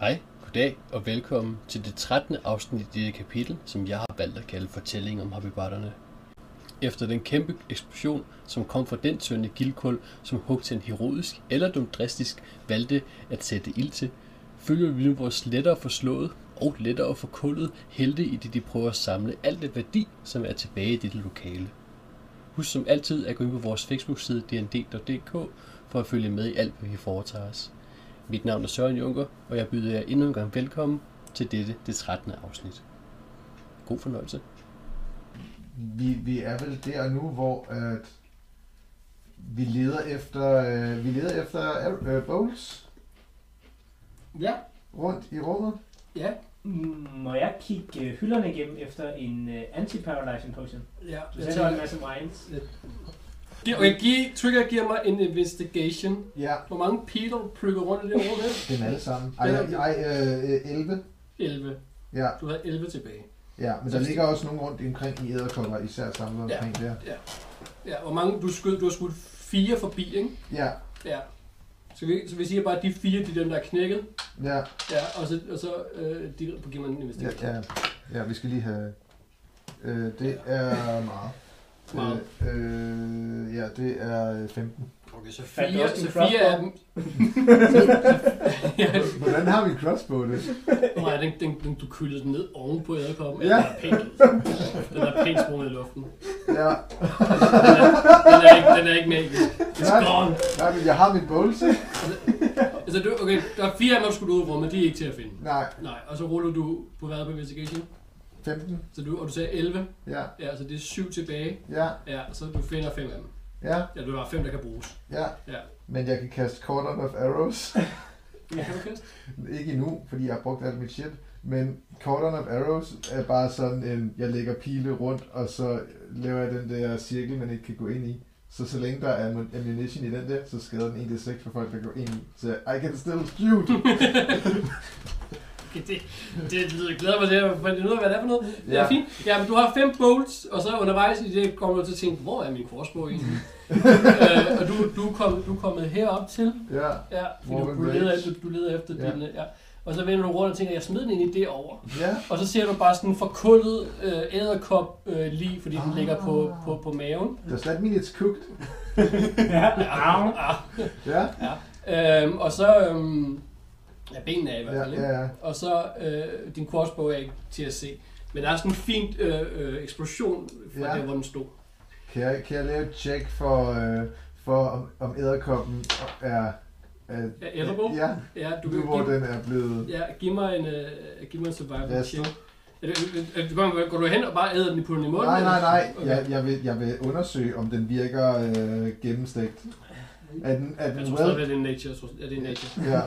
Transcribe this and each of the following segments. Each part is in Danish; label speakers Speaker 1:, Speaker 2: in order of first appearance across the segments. Speaker 1: Hej, goddag og velkommen til det 13. afsnit i dette kapitel, som jeg har valgt at kalde fortællingen om Habibatterne. Efter den kæmpe eksplosion, som kom fra den tynde gildkul, som Hugtan heroisk eller dumdristisk valgte at sætte ild til, følger vi nu vores lettere forslået og lettere forkullet helte i det, de prøver at samle alt det værdi, som er tilbage i dette lokale. Husk som altid at gå ind på vores Facebook-side dnd.dk for at følge med i alt, hvad vi foretager os. Mit navn er Søren Junker, og jeg byder jer endnu en gang velkommen til dette, det 13. afsnit. God fornøjelse.
Speaker 2: vi, vi er vel der nu, hvor at vi leder efter, øh, vi leder efter øh, Bowles
Speaker 3: Ja,
Speaker 2: rundt i rummet.
Speaker 3: ja,
Speaker 4: Mm, Må jeg kigge øh, hylderne igennem efter en uh, anti-paralyzing potion?
Speaker 5: Ja,
Speaker 4: Du
Speaker 5: jeg
Speaker 4: sagde, der var en
Speaker 5: tænker,
Speaker 4: masse mines.
Speaker 5: Giv- okay, giv, Trigger giver mig en investigation.
Speaker 2: Ja,
Speaker 5: Hvor mange Peter plukker rundt i det rum her?
Speaker 2: dem alle sammen. Ej,
Speaker 5: Ja.
Speaker 2: ej øh, øh, 11.
Speaker 5: 11.
Speaker 2: Ja,
Speaker 5: Du har 11 tilbage.
Speaker 2: ja, men der ligger også nogen rundt omkring i æderkopper, især samlet
Speaker 5: Ja.
Speaker 2: omkring der.
Speaker 5: Ja, hvor mange du skød? Du har skudt fire forbi, ikke?
Speaker 2: Ja,
Speaker 5: Ja. Så vi, så vi siger bare, at de fire, de er dem, der er knækket.
Speaker 2: ja,
Speaker 5: Ja, og så, og så øh, de, giver man en
Speaker 2: ja,
Speaker 5: investigation.
Speaker 2: ja, ja, vi skal lige have... Øh, det er meget.
Speaker 5: Meget.
Speaker 2: Øh, øh, ja, det er 15.
Speaker 5: Okay, så
Speaker 4: Fandt
Speaker 5: fire,
Speaker 4: også din
Speaker 5: så fire
Speaker 4: crossbow?
Speaker 5: af dem... ja,
Speaker 2: Hvordan har vi crossbow det?
Speaker 5: nej, den, den, den, du kyldede den ned ovenpå æderkoppen. Ja.
Speaker 2: Ja.
Speaker 5: Den er pænt. Den er pænt sprunget i luften.
Speaker 2: Ja,
Speaker 5: Den er, den er, ikke, den er ikke magisk. It's
Speaker 2: Nej.
Speaker 5: gone.
Speaker 2: nej, men jeg har mit bowls.
Speaker 5: Altså, du, okay, der er fire af dem, der skulle ud af rummet, de er ikke til at finde.
Speaker 2: Nej,
Speaker 5: Nej, og så ruller du på hvad på investigation,
Speaker 2: 15.
Speaker 5: så du, og du sagde 11,
Speaker 2: Ja,
Speaker 5: ja, så det er 7 tilbage,
Speaker 2: ja,
Speaker 5: ja, så du finder 5 af dem.
Speaker 2: ja.
Speaker 5: Ja, du har 5, der kan bruges.
Speaker 2: Ja.
Speaker 5: Ja.
Speaker 2: Men jeg kan kaste Cordon of Arrows.
Speaker 5: Ja, kan du kaste?
Speaker 2: Ikke endnu, fordi jeg har brugt alt mit shit. Men Cordon of Arrows er bare sådan en, jeg lægger pile rundt, og så laver jeg den der cirkel, man ikke kan gå ind i. Så så længe der er ammu- ammunition i den der, så skader den 1d6 for folk, der går ind i. Så I can still shoot!
Speaker 5: Okay, det, det lyder, jeg glæder mig til at finde ud af, hvad det er for noget. Det er
Speaker 2: Ja.
Speaker 5: fint. Ja, men du har 5 bolts, og så undervejs i det kommer du til at tænke, hvor er min crossbow egentlig? øh, og du, du, er kommet, du er kommet herop til,
Speaker 2: Ja,
Speaker 5: ja, fordi du,
Speaker 2: Warwick
Speaker 5: du, leder,
Speaker 2: Rage.
Speaker 5: efter- du leder efter
Speaker 2: Ja.
Speaker 5: ja. din, øh, ja. Og så vender du rundt og tænker, jeg smed den ind i derovre.
Speaker 2: ja,
Speaker 5: Og så ser du bare sådan en forkullet øh, æderkop øh, lige, fordi den
Speaker 2: Ah.
Speaker 5: ligger på, på, på maven.
Speaker 2: does that mean it's cooked?
Speaker 4: ja,
Speaker 2: Ah.
Speaker 4: au.
Speaker 2: Ja,
Speaker 5: Ah. Øhm, og så... Øhm, ja, benene er i hvert
Speaker 2: ja,
Speaker 5: fald, ikke?
Speaker 2: ja, ja.
Speaker 5: Og så øh, din crossbow er ikke til at se. Men der er sådan en fin øh, øh, eksplosion fra
Speaker 2: Ja.
Speaker 5: ja. der, hvor den stod.
Speaker 2: Kan jeg, kan jeg lave et check for, øh, for om, om æderkoppen er... er
Speaker 5: Ja, edible?
Speaker 2: Ja,
Speaker 5: Ja, du
Speaker 2: du nu
Speaker 5: kan
Speaker 2: hvor
Speaker 5: give,
Speaker 2: den er blevet...
Speaker 5: ja, giv mig en, øh, giv mig en survival
Speaker 2: Lad os
Speaker 5: check. Er det- er det- Går går du hen og bare æder den i putten i munden?
Speaker 2: Nej, nej, nej.
Speaker 5: Okay.
Speaker 2: Jeg, jeg, vil, jeg vil undersøge, om den virker øh, gennemstegt. Er den, er
Speaker 5: Jeg
Speaker 2: den
Speaker 5: tror
Speaker 2: well...
Speaker 5: stadigvæk, det er nature. Jeg tror, ja, det er nature.
Speaker 2: Ja.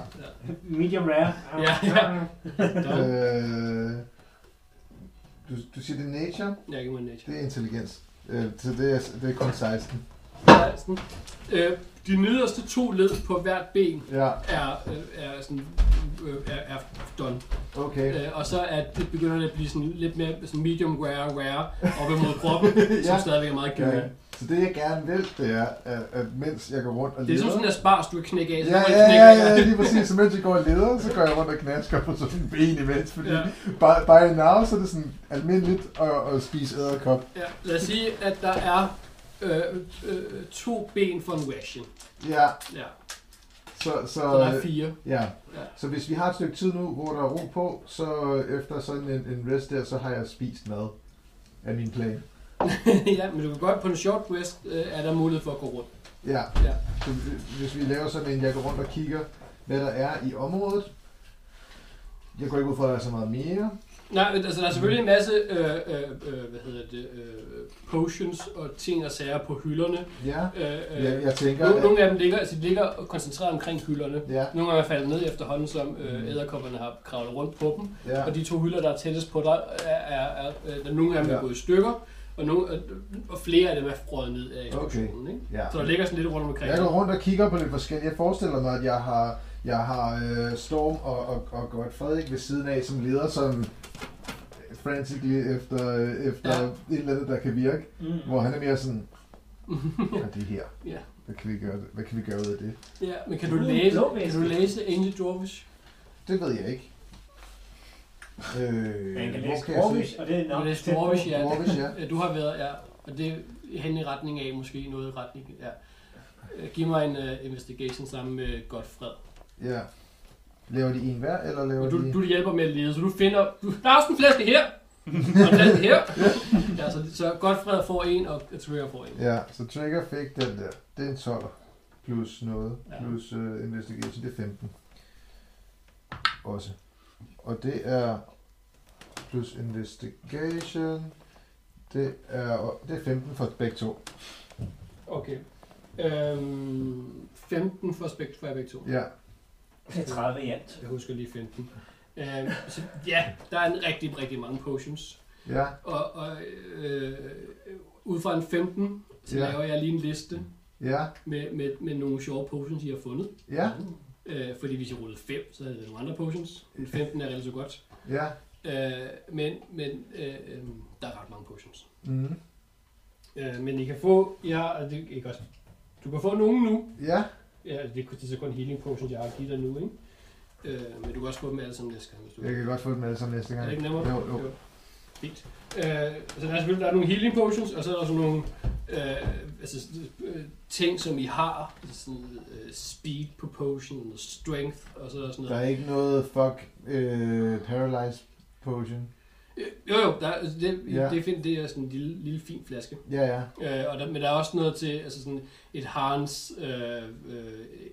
Speaker 4: Medium rare. Au.
Speaker 5: Ja, ja. Der,
Speaker 2: Øh, du, du siger, det er nature?
Speaker 5: jeg giver mig en nature.
Speaker 2: Det er intelligens. Øh, så det er, det er kun 16.
Speaker 5: Sådan, øh, de nederste to led på hvert ben
Speaker 2: Ja,
Speaker 5: er, øh, er, sådan, øh, er, er done.
Speaker 2: okay.
Speaker 5: Øh, og så er det begynder det at blive sådan lidt mere sådan medium rare rare op imod kroppen, ja. som
Speaker 2: Ja.
Speaker 5: stadigvæk er meget gøy.
Speaker 2: Ja. Så det, jeg gerne vil, det er, at, at mens jeg går rundt og
Speaker 5: Det er
Speaker 2: leder...
Speaker 5: som sådan en spars, du kan knække af. Så
Speaker 2: Ja,
Speaker 5: kan man
Speaker 2: ja,
Speaker 5: knække
Speaker 2: ja,
Speaker 5: af.
Speaker 2: ja, lige præcis. Så mens jeg går og leder, så går jeg rundt og knasker på sådan en ben imens, fordi
Speaker 5: Ja.
Speaker 2: by, by now, så er det sådan almindeligt at, at spise æderkop.
Speaker 5: ja. Lad os sige, at der er øh, øh, to ben for en ration.
Speaker 2: Ja,
Speaker 5: Ja,
Speaker 2: så... Så, øh,
Speaker 5: så der er fire.
Speaker 2: Ja.
Speaker 5: Ja.
Speaker 2: Så hvis vi har et stykke tid nu, hvor der er ro på, så efter sådan en, en rest der, så har jeg spist mad af min plan.
Speaker 5: ja, men du kan godt på en short quest, øh, er der mulighed for at gå rundt.
Speaker 2: Ja.
Speaker 5: Ja.
Speaker 2: Så hvi- hvis vi laver sådan en, jeg går rundt og kigger, hvad der er i området. Jeg går ikke ud fra, at der er så meget mere.
Speaker 5: Nej, men altså der er selvfølgelig en masse, øh, øh, øh, hvad hedder det, øh, potions og ting og sager på hylderne.
Speaker 2: Ja.
Speaker 5: Øh, øh,
Speaker 2: Jeg, jeg tænker,
Speaker 5: nogle,
Speaker 2: at,
Speaker 5: nogle af dem ligger, altså de ligger koncentreret omkring hylderne.
Speaker 2: ja, Mm.
Speaker 5: Nogle gange er faldet ned efterhånden, som øh, æderkopperne har kravlet rundt på dem.
Speaker 2: ja,
Speaker 5: Og de to hylder, der er tættest på dig, er, er, er, er der er nogle af dem, der er
Speaker 2: Ja.
Speaker 5: gået i stykker. Og, nogle, og, og flere af dem er frøet ned af eksplosionen. Ikke?
Speaker 2: ja.
Speaker 5: Så der ligger sådan lidt rundt omkring.
Speaker 2: Jeg går rundt og kigger på lidt forskelligt. Jeg forestiller mig, at jeg har, jeg har øh, Storm og, og, og Godt Frederik ved siden af, som leder sådan frantically efter, øh, efter
Speaker 5: Ja.
Speaker 2: ja. et eller andet, der kan virke.
Speaker 4: Mm.
Speaker 2: Hvor han er mere sådan, ja, det her.
Speaker 5: Ja.
Speaker 2: Hvad kan vi gøre, hvad kan vi gøre ud af det?
Speaker 5: Ja, men kan du
Speaker 4: Uh,
Speaker 5: læse,
Speaker 4: blå
Speaker 5: kan du
Speaker 4: væske.
Speaker 5: læse Angel Dwarfish?
Speaker 2: Det ved jeg ikke. Øh,
Speaker 4: Man kan
Speaker 2: hvor kan
Speaker 4: læse
Speaker 2: jeg se?
Speaker 4: Dwarvish, og det er
Speaker 5: Nå,
Speaker 4: nok
Speaker 5: det er
Speaker 4: tæt på.
Speaker 5: Storvish, ja.
Speaker 2: Dwarvish, ja.
Speaker 5: ja. Du har været, ja. Og det er hen i retning af, måske noget i retning, ja. Øh, Giv mig en uh, investigation sammen med Godfred.
Speaker 2: Ja. Laver de en hver, eller laver
Speaker 5: Og
Speaker 2: de...
Speaker 5: du, du hjælper med at lede, så du finder... Du, der er også en flaske her! Og en flaske her! ja, så, så Godfred får en, og Trigger får en.
Speaker 2: Ja, så Trigger fik den der. Det er en 12 plus noget,
Speaker 5: Ja.
Speaker 2: plus uh, investigation, det er 15. Også. Og det er plus investigation, det er, og det er 15 for begge to.
Speaker 5: Okay. Øhm, 15 for spekt for jer begge to.
Speaker 2: Ja,
Speaker 4: Det er 30 i alt.
Speaker 5: Jeg husker lige 15. Øhm, så ja, der er en rigtig, rigtig mange potions.
Speaker 2: ja,
Speaker 5: Og, og øh, øh, ud fra en 15, så
Speaker 2: Ja.
Speaker 5: laver jeg lige en liste
Speaker 2: ja,
Speaker 5: med, med, med nogle sjove potions, I har fundet.
Speaker 2: ja,
Speaker 5: Øh, fordi hvis I rullede 5, så havde det nogle andre potions. Men 15 er relativt godt.
Speaker 2: ja.
Speaker 5: Øh, men men øh, øh, der er ret mange potions.
Speaker 2: Mm.
Speaker 5: Øh, men I kan få... I har, og det, ikke også, du kan få nogen nu.
Speaker 2: Ja,
Speaker 5: Ja, altså, det, det er så kun healing potions, jeg har givet dig nu, ikke? Øh, men du kan også få dem alle sammen næste gang, hvis du
Speaker 2: jeg kan godt få dem alle sammen næste
Speaker 5: Er
Speaker 2: gang.
Speaker 5: det ikke nemmere?
Speaker 2: Jo, jo.
Speaker 5: Fint. Øh, så der er selvfølgelig der er nogle healing potions, og så er der sådan nogle øh, altså, øh, ting, som I har. Sådan, øh, speed på potion, og strength, og så er der sådan
Speaker 2: Der
Speaker 5: noget.
Speaker 2: er ikke noget fuck øh, paralyze potion.
Speaker 5: Øh, Jo, jo, der, er- altså, det,
Speaker 2: Ja.
Speaker 5: ja. det, er fint, det er sådan en lille, lille fin flaske.
Speaker 2: Ja, ja.
Speaker 5: Øh, og der, men der er også noget til altså sådan et Harns øh, øh,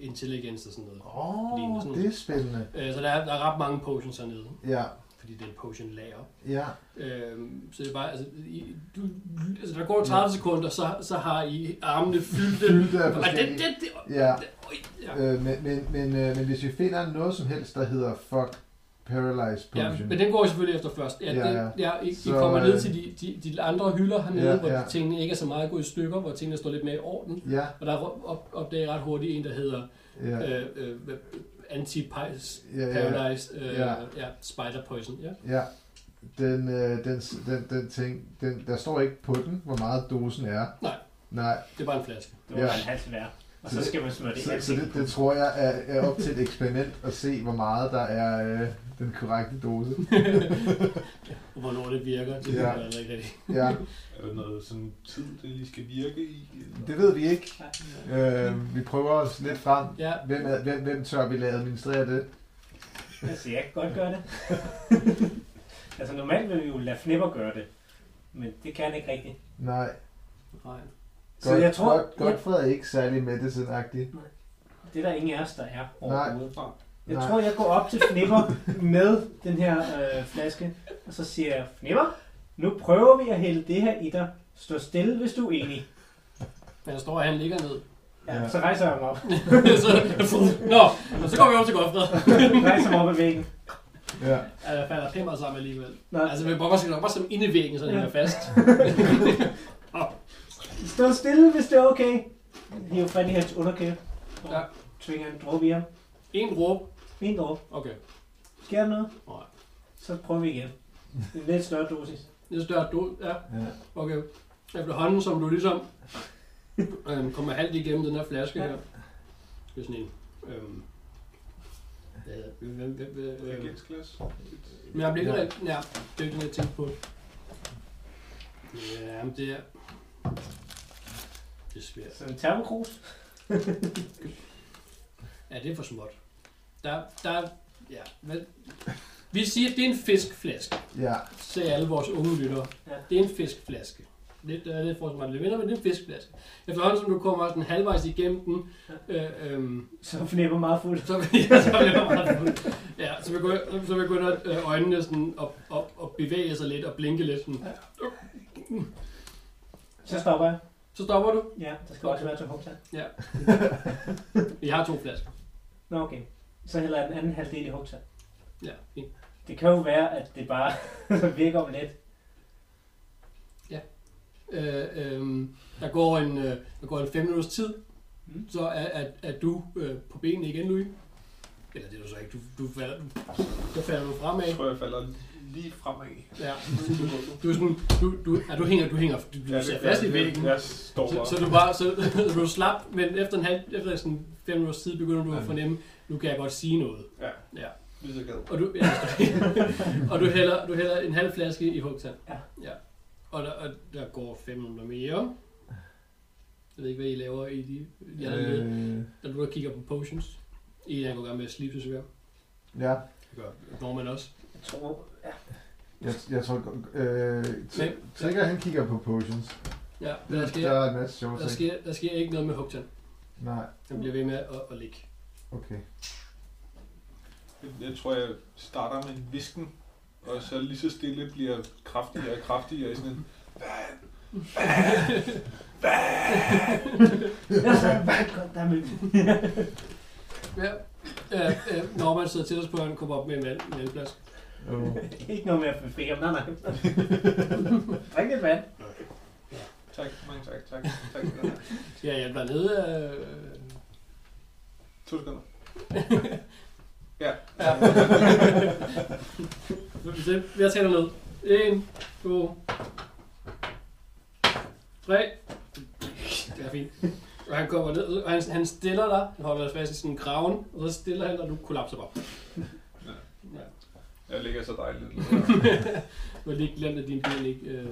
Speaker 5: intelligence og sådan noget.
Speaker 2: Åh,
Speaker 5: Lignende
Speaker 2: oh,
Speaker 5: sådan-
Speaker 2: det er spændende.
Speaker 5: Øh, så der er, der er ret mange potions hernede,
Speaker 2: Ja,
Speaker 5: fordi det er en potion lager.
Speaker 2: ja,
Speaker 5: Øhm, så det er bare, altså, I, du, altså der går 30 sekunder, så, så har I armene fyldte.
Speaker 2: Fyldte af
Speaker 5: Og det,
Speaker 2: forskellige-
Speaker 5: det, det,
Speaker 2: ja.
Speaker 5: det, øj, ja.
Speaker 2: Øh, men, men, men, øh, men hvis vi finder noget som helst, der hedder fuck paralyze
Speaker 5: ja,
Speaker 2: potion.
Speaker 5: men den går I selvfølgelig efter først. Ja,
Speaker 2: Ja,
Speaker 5: ja,
Speaker 2: ja.
Speaker 5: ja. ja I,
Speaker 2: Så,
Speaker 5: I kommer ned
Speaker 2: øh,
Speaker 5: til de, de, de andre hylder hernede,
Speaker 2: Ja,
Speaker 5: ja, hvor
Speaker 2: ja.
Speaker 5: ja. tingene ikke er så meget gået i stykker, hvor tingene står lidt mere i orden.
Speaker 2: Ja,
Speaker 5: Og der ro- op, opdager jeg ret hurtigt en, der hedder
Speaker 2: ja,
Speaker 5: ja. øh, øh, hvad- anti-pies,
Speaker 2: ja, ja,
Speaker 5: paralyzed, øh,
Speaker 2: Ja.
Speaker 5: ja. Ja, spider poison. Ja.
Speaker 2: ja. Den, øh, den, den, den ting, den, der står ikke på den, hvor meget dosen er.
Speaker 5: Nej.
Speaker 2: Nej,
Speaker 5: Det er bare en flaske.
Speaker 4: Det var
Speaker 2: Ja.
Speaker 4: ja. en halv hver. Og så skal man smøre det i
Speaker 2: så, så
Speaker 4: ansigtet.
Speaker 2: det, det tror jeg er, er op til et eksperiment at se, hvor meget der er øh, den korrekte dose.
Speaker 5: Og hvornår det virker, det
Speaker 2: Ja.
Speaker 5: ja. er ikke rigtigt.
Speaker 2: Ja,
Speaker 6: Er der noget sådan tid, det lige skal virke i? eller?
Speaker 2: det ved vi ikke. Øh, vi prøver os lidt frem.
Speaker 5: Ja,
Speaker 2: Hvem, er, hvem, hvem tør vi lade administrere det?
Speaker 4: Altså, jeg kan godt gøre det. altså, normalt vil vi jo lade Flipper gøre det. Men det kan han ikke rigtigt.
Speaker 2: Nej.
Speaker 5: nej.
Speaker 2: Godt,
Speaker 4: Så jeg tror,
Speaker 2: godt, godt Fred er ikke særlig medicine-agtig.
Speaker 4: det er der ingen af os, der er overhovedet. Nej. Jeg
Speaker 2: Nej.
Speaker 4: tror, jeg går op til Flipper med den her øh, flaske, og så siger jeg, Flipper, nu prøver vi at hælde det her i dig. Stå stille, hvis du er enig.
Speaker 5: Men der står, at han ligger ned.
Speaker 4: Ja,
Speaker 2: Ja.
Speaker 4: Så rejser jeg mig op.
Speaker 5: så, nå, så går vi over til Godfred.
Speaker 4: rejser mig op ad væggen.
Speaker 2: Ja.
Speaker 5: Ja, der falder pæmmer sammen alligevel.
Speaker 4: Nå,
Speaker 5: Altså, vi bare skal nok bare som inde i væggen, så den
Speaker 4: Ja.
Speaker 5: er fast.
Speaker 4: stå stille, hvis det er okay. Hiv fat i hans underkæbe. og
Speaker 5: Ja.
Speaker 4: Tvinger en dråbe i ham.
Speaker 5: En råb.
Speaker 4: En dråbe.
Speaker 5: Okay.
Speaker 4: Sker der noget?
Speaker 5: Nej.
Speaker 4: Så prøver vi igen. En lidt større dosis.
Speaker 5: Det er større død. Ja,
Speaker 2: Ja.
Speaker 5: okay. Efterhånden, som du ligesom øhm, kommer halvt igennem den her flaske
Speaker 4: Ja.
Speaker 5: her. Det er sådan en... Øhm, øh, hvem- hvem- hvem- hvem-
Speaker 6: Reagensglas?
Speaker 5: øhm, Men jeg bliver ikke rigtig... Ja, det er ikke noget, jeg tænkte på. Ja, men det er... Det er svært.
Speaker 4: Så en termokrus.
Speaker 5: Ja, det er for småt. Der, der, ja, vel. Vi siger, at det er en fiskflaske,
Speaker 2: Ja.
Speaker 5: sagde alle vores unge lyttere.
Speaker 4: Ja.
Speaker 5: Det er en fiskflaske. Lidt, øh, lidt for mig lidt mindre, men det er en fiskflaske. Efterhånden, som du kommer sådan halvvejs igennem den, øh, øhm,
Speaker 4: Så Flipper meget fuld.
Speaker 5: så, ja, så bliver man ret fuld. ja, så vil gå- så begynder øh, øjnene sådan op, op, op, bevæge sig lidt og blinke lidt. Sådan.
Speaker 4: Så stopper jeg.
Speaker 5: Så stopper du.
Speaker 4: Ja, der skal også være til Hopsa.
Speaker 5: Vi har to flasker.
Speaker 4: Nå, okay. Så hælder jeg den anden halvdel i Hopsa.
Speaker 5: Ja, fint.
Speaker 4: Det kan jo være, at det bare virker om lidt.
Speaker 5: Øh, øhm, der, går en, øh, der går en fem minutters tid,
Speaker 4: Mm.
Speaker 5: så er, er, er du øh, på benene igen, Louis. Eller det er du så ikke. Du, du falder, du, der falder du
Speaker 6: Jeg
Speaker 5: fremad.
Speaker 6: tror, jeg falder lige fremad.
Speaker 5: Ja. Du er sådan, du, du, ja, du hænger, du hænger, du, du ja,
Speaker 6: det-
Speaker 5: ser fast i
Speaker 6: jeg-
Speaker 5: væggen.
Speaker 6: Jeg står
Speaker 5: Så,
Speaker 6: bare.
Speaker 5: så, du bare, så, så du er slap, men efter en halv, efter sådan fem minutters tid begynder du at fornemme, nu kan jeg godt sige noget.
Speaker 6: Ja.
Speaker 5: ja.
Speaker 6: Hvis jeg gad.
Speaker 5: Og du, ja, og du, hælder, du hælder en halv flaske i hugtand.
Speaker 4: Ja.
Speaker 5: ja. Og, der, og der går fem minutter mere. Jeg ved ikke, hvad I laver i de... Jeg øh. med,
Speaker 2: Øh,
Speaker 5: der du der kigger på potions. I er gået i gang med at slippe svær.
Speaker 2: ja,
Speaker 5: Det gør Norman også.
Speaker 4: Jeg tror, ja.
Speaker 2: jeg, jeg tror... Øh,
Speaker 5: Men-
Speaker 2: T- Trigger, han kigger på potions.
Speaker 5: Ja, men
Speaker 2: Der,
Speaker 5: der sker,
Speaker 2: der er en masse sjove
Speaker 5: der
Speaker 2: ting.
Speaker 5: sker, der sker ikke noget med hugtand.
Speaker 2: Nej,
Speaker 5: Den bliver ved med at, at ligge.
Speaker 2: okay.
Speaker 6: Jeg, jeg tror, jeg starter med en visken, og så lige så stille bliver kraftigere og kraftigere i sådan en...
Speaker 4: Jeg sagde, hvad godt der med.
Speaker 5: Ja. Øh, øh, Norman sidder til os på, at han kommer op med en vand, en vandflaske.
Speaker 2: Oh.
Speaker 4: Ikke noget med at få fingre, nej, nej. Drik lidt vand.
Speaker 6: Tak, mange tak, tak, tak.
Speaker 5: Skal jeg hjælpe dig ned? Øh...
Speaker 6: To sekunder. Ja.
Speaker 5: Ja. jeg tæller ned. En, to, tre. Det er fint. Og han kommer ned, og han, han stiller dig, han holder dig fast i sådan en graven, og så stiller han, og du kollapser bare.
Speaker 6: Ja.
Speaker 5: Ja.
Speaker 6: Jeg ligger så dejligt.
Speaker 5: Du har lige glemt, at din bil ikke... Øh,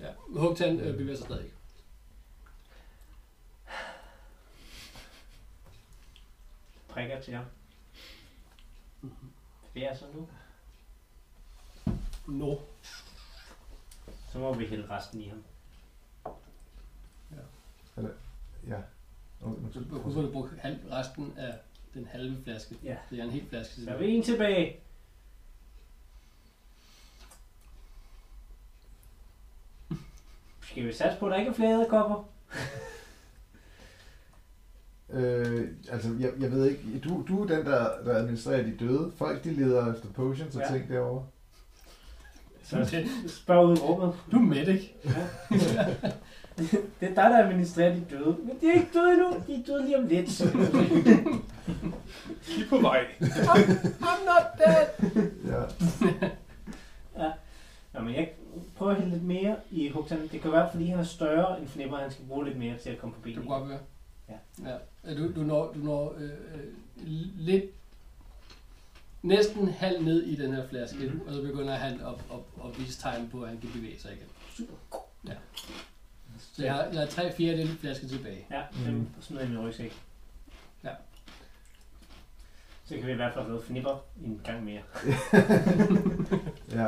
Speaker 5: ja. Hugtan øh, bevæger sig stadig ikke.
Speaker 4: Prikker til ham. Hvad er så nu?
Speaker 5: No.
Speaker 4: Så må vi hælde resten i ham.
Speaker 2: Ja. Oh, nu
Speaker 5: Så du får du brugt halv, resten af den halve flaske.
Speaker 4: Ja.
Speaker 5: Det er en hel flaske.
Speaker 4: Så er vi en tilbage. Skal vi satse på, at der ikke er flere æderkopper?
Speaker 2: Øh, altså, jeg, jeg ved ikke, du, du er den, der, der administrerer de døde. Folk, de leder efter potions og
Speaker 4: Ja.
Speaker 2: ja. ting derovre.
Speaker 5: Så,
Speaker 4: Spørg ud i rummet.
Speaker 5: du er med, ikke?
Speaker 4: Det er dig, der administrerer de døde. Men de er ikke døde endnu. De er døde lige om lidt.
Speaker 6: Kig på vej.
Speaker 4: I'm not dead.
Speaker 2: Ja.
Speaker 4: Nå, men jeg prøver at hælde lidt mere i Hugtan. Det kan være, fordi han er større end Flipper, og han skal bruge lidt mere til at komme på
Speaker 5: Du
Speaker 4: benene.
Speaker 5: kan godt høre.
Speaker 4: Ja.
Speaker 5: ja. Du, du når, du når øh, øh, lidt, næsten halv ned i den her flaske, mm-hmm.
Speaker 4: Mhm.
Speaker 5: og så begynder han at, at, at vise tegn på, at han kan bevæge sig igen.
Speaker 4: Super.
Speaker 5: Ja. Så jeg har, jeg har tre fjerdedel flaske tilbage.
Speaker 4: Ja, dem mm. smider jeg i min rygsæk.
Speaker 5: Ja.
Speaker 4: Så kan vi i hvert fald have Flipper en gang mere.
Speaker 2: ja.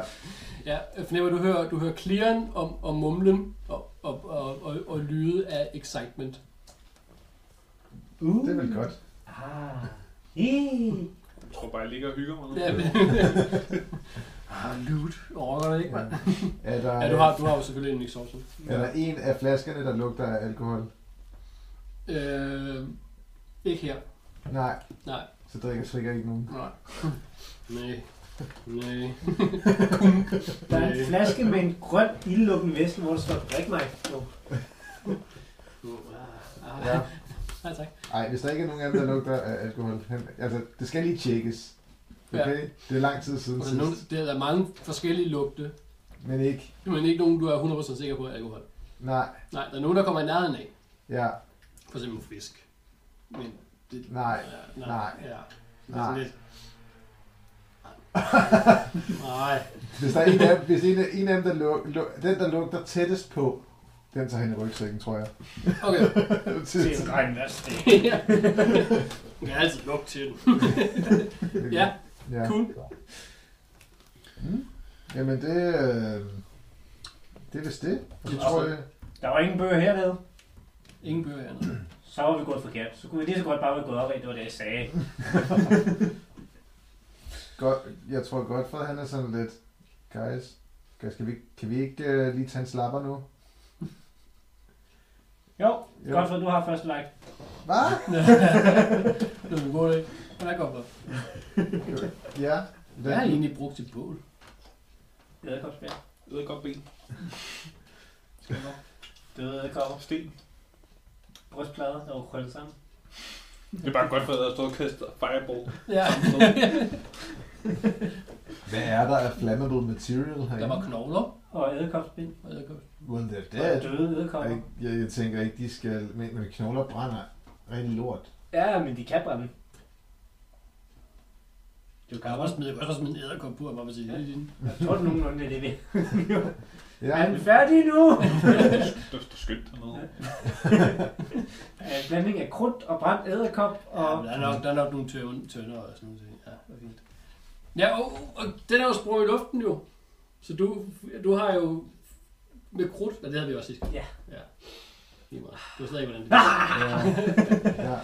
Speaker 5: Ja, øh, fornemmer du hører, du hører clearen og, og mumlen og, og, og, og, og lyde af excitement.
Speaker 4: Uh.
Speaker 2: Det er vel godt.
Speaker 4: Ah. Hey.
Speaker 6: Jeg tror bare, jeg ligger og hygger mig nu.
Speaker 5: Ja, men... ah, loot. Overgår det ikke, mand?
Speaker 2: Ja. Er, der,
Speaker 5: Ja, du har, du har jo selvfølgelig en exhaustion.
Speaker 2: er der en af flaskerne, der lugter af alkohol?
Speaker 5: Øh, ikke her.
Speaker 2: Nej,
Speaker 5: Nej.
Speaker 2: så drikker Trigger ikke nogen.
Speaker 5: Nej. Nej. Nej.
Speaker 4: Der er en flaske med en grøn ildlukkende væske, hvor der står drik mig. Oh.
Speaker 5: Ah,
Speaker 2: Ja.
Speaker 5: ja. Nej, tak.
Speaker 2: Ej, hvis der ikke er nogen af dem, der lugter af alkohol, han, altså, det skal lige tjekkes. Okay? Ja. Det er lang tid siden
Speaker 5: Og der, er nogle,
Speaker 2: sidst,
Speaker 5: der er mange forskellige lugte,
Speaker 2: men ikke.
Speaker 5: men ikke nogen, du er 100% sikker på er alkohol.
Speaker 2: Nej,
Speaker 5: Nej, der er nogen, der kommer i nærheden af.
Speaker 2: ja,
Speaker 5: For eksempel fisk. Men det,
Speaker 2: nej,
Speaker 5: ja,
Speaker 2: nej,
Speaker 5: Ja. Det er sådan
Speaker 2: nej.
Speaker 5: lidt... Nej.
Speaker 2: Hvis der er en af dem, hvis en af, en af dem der, lug, lug, den, der lugter tættest på, den tager hen i rygsækken, tror jeg.
Speaker 5: Okay.
Speaker 4: Det er en egen væske.
Speaker 5: ja. Du kan altid lugte til den. Ja,
Speaker 2: ja. Mm.
Speaker 5: cool.
Speaker 2: Jamen det, øh, det er vist det. Og så
Speaker 5: Det
Speaker 2: tror
Speaker 5: tror
Speaker 2: jeg,
Speaker 4: Der var ingen bøger hernede.
Speaker 5: Ingen bøger hernede.
Speaker 4: Så var vi gået forkert. Så kunne vi lige så godt bare være gået op af, det var det, jeg sagde.
Speaker 2: godt, jeg tror godt, for han er sådan lidt, guys, guys kan, vi, ikke- kan vi ikke øh, lige tage en slapper nu?
Speaker 4: Jo,
Speaker 2: Jo.
Speaker 4: godt for du har første like.
Speaker 2: Hvad?
Speaker 5: det er en god idé. Hvad går for?
Speaker 2: Ja.
Speaker 5: Hvad har I egentlig brugt til bål?
Speaker 4: Det er godt spil.
Speaker 6: Jeg ved godt ben. Skal jeg nok?
Speaker 4: Døde æderkopper.
Speaker 6: Sten.
Speaker 4: Brystplader, der var krøllet sammen.
Speaker 6: Det er bare godt for, at jeg har stået og kastet fireball.
Speaker 5: Ja,
Speaker 2: Hvad er der af flammable material herinde?
Speaker 5: der var knogler.
Speaker 4: Og æderkopsbind.
Speaker 5: Og edderkopper.
Speaker 2: Well, they're
Speaker 4: Og
Speaker 2: dead.
Speaker 4: døde æderkopper.
Speaker 2: Jeg, jeg, jeg tænker ikke, de skal... Men, men knogler brænder rigtig lort.
Speaker 4: Ja, men de kan brænde.
Speaker 5: Du kan også smide, jeg kan også smide en æderkop på, og bare sige, det er din.
Speaker 4: Jeg tror, det er nogenlunde det, er det.
Speaker 2: Ja,
Speaker 4: Er den færdig nu?
Speaker 6: Det er skønt hernede.
Speaker 4: Øh, Blanding af krudt og brændt æderkop
Speaker 5: Ja, men
Speaker 4: og...
Speaker 5: der, er nok, der er nok nogle tønder, tønder og sådan noget. Ja, det er fint. Ja, og, og den er jo sprunget i luften jo. Så du, du har jo med krudt, og det havde vi også sidst.
Speaker 4: Ja.
Speaker 5: ja. Lige meget. Du ved stadig ikke, hvordan det
Speaker 2: ja, Øh, ja.
Speaker 5: virker.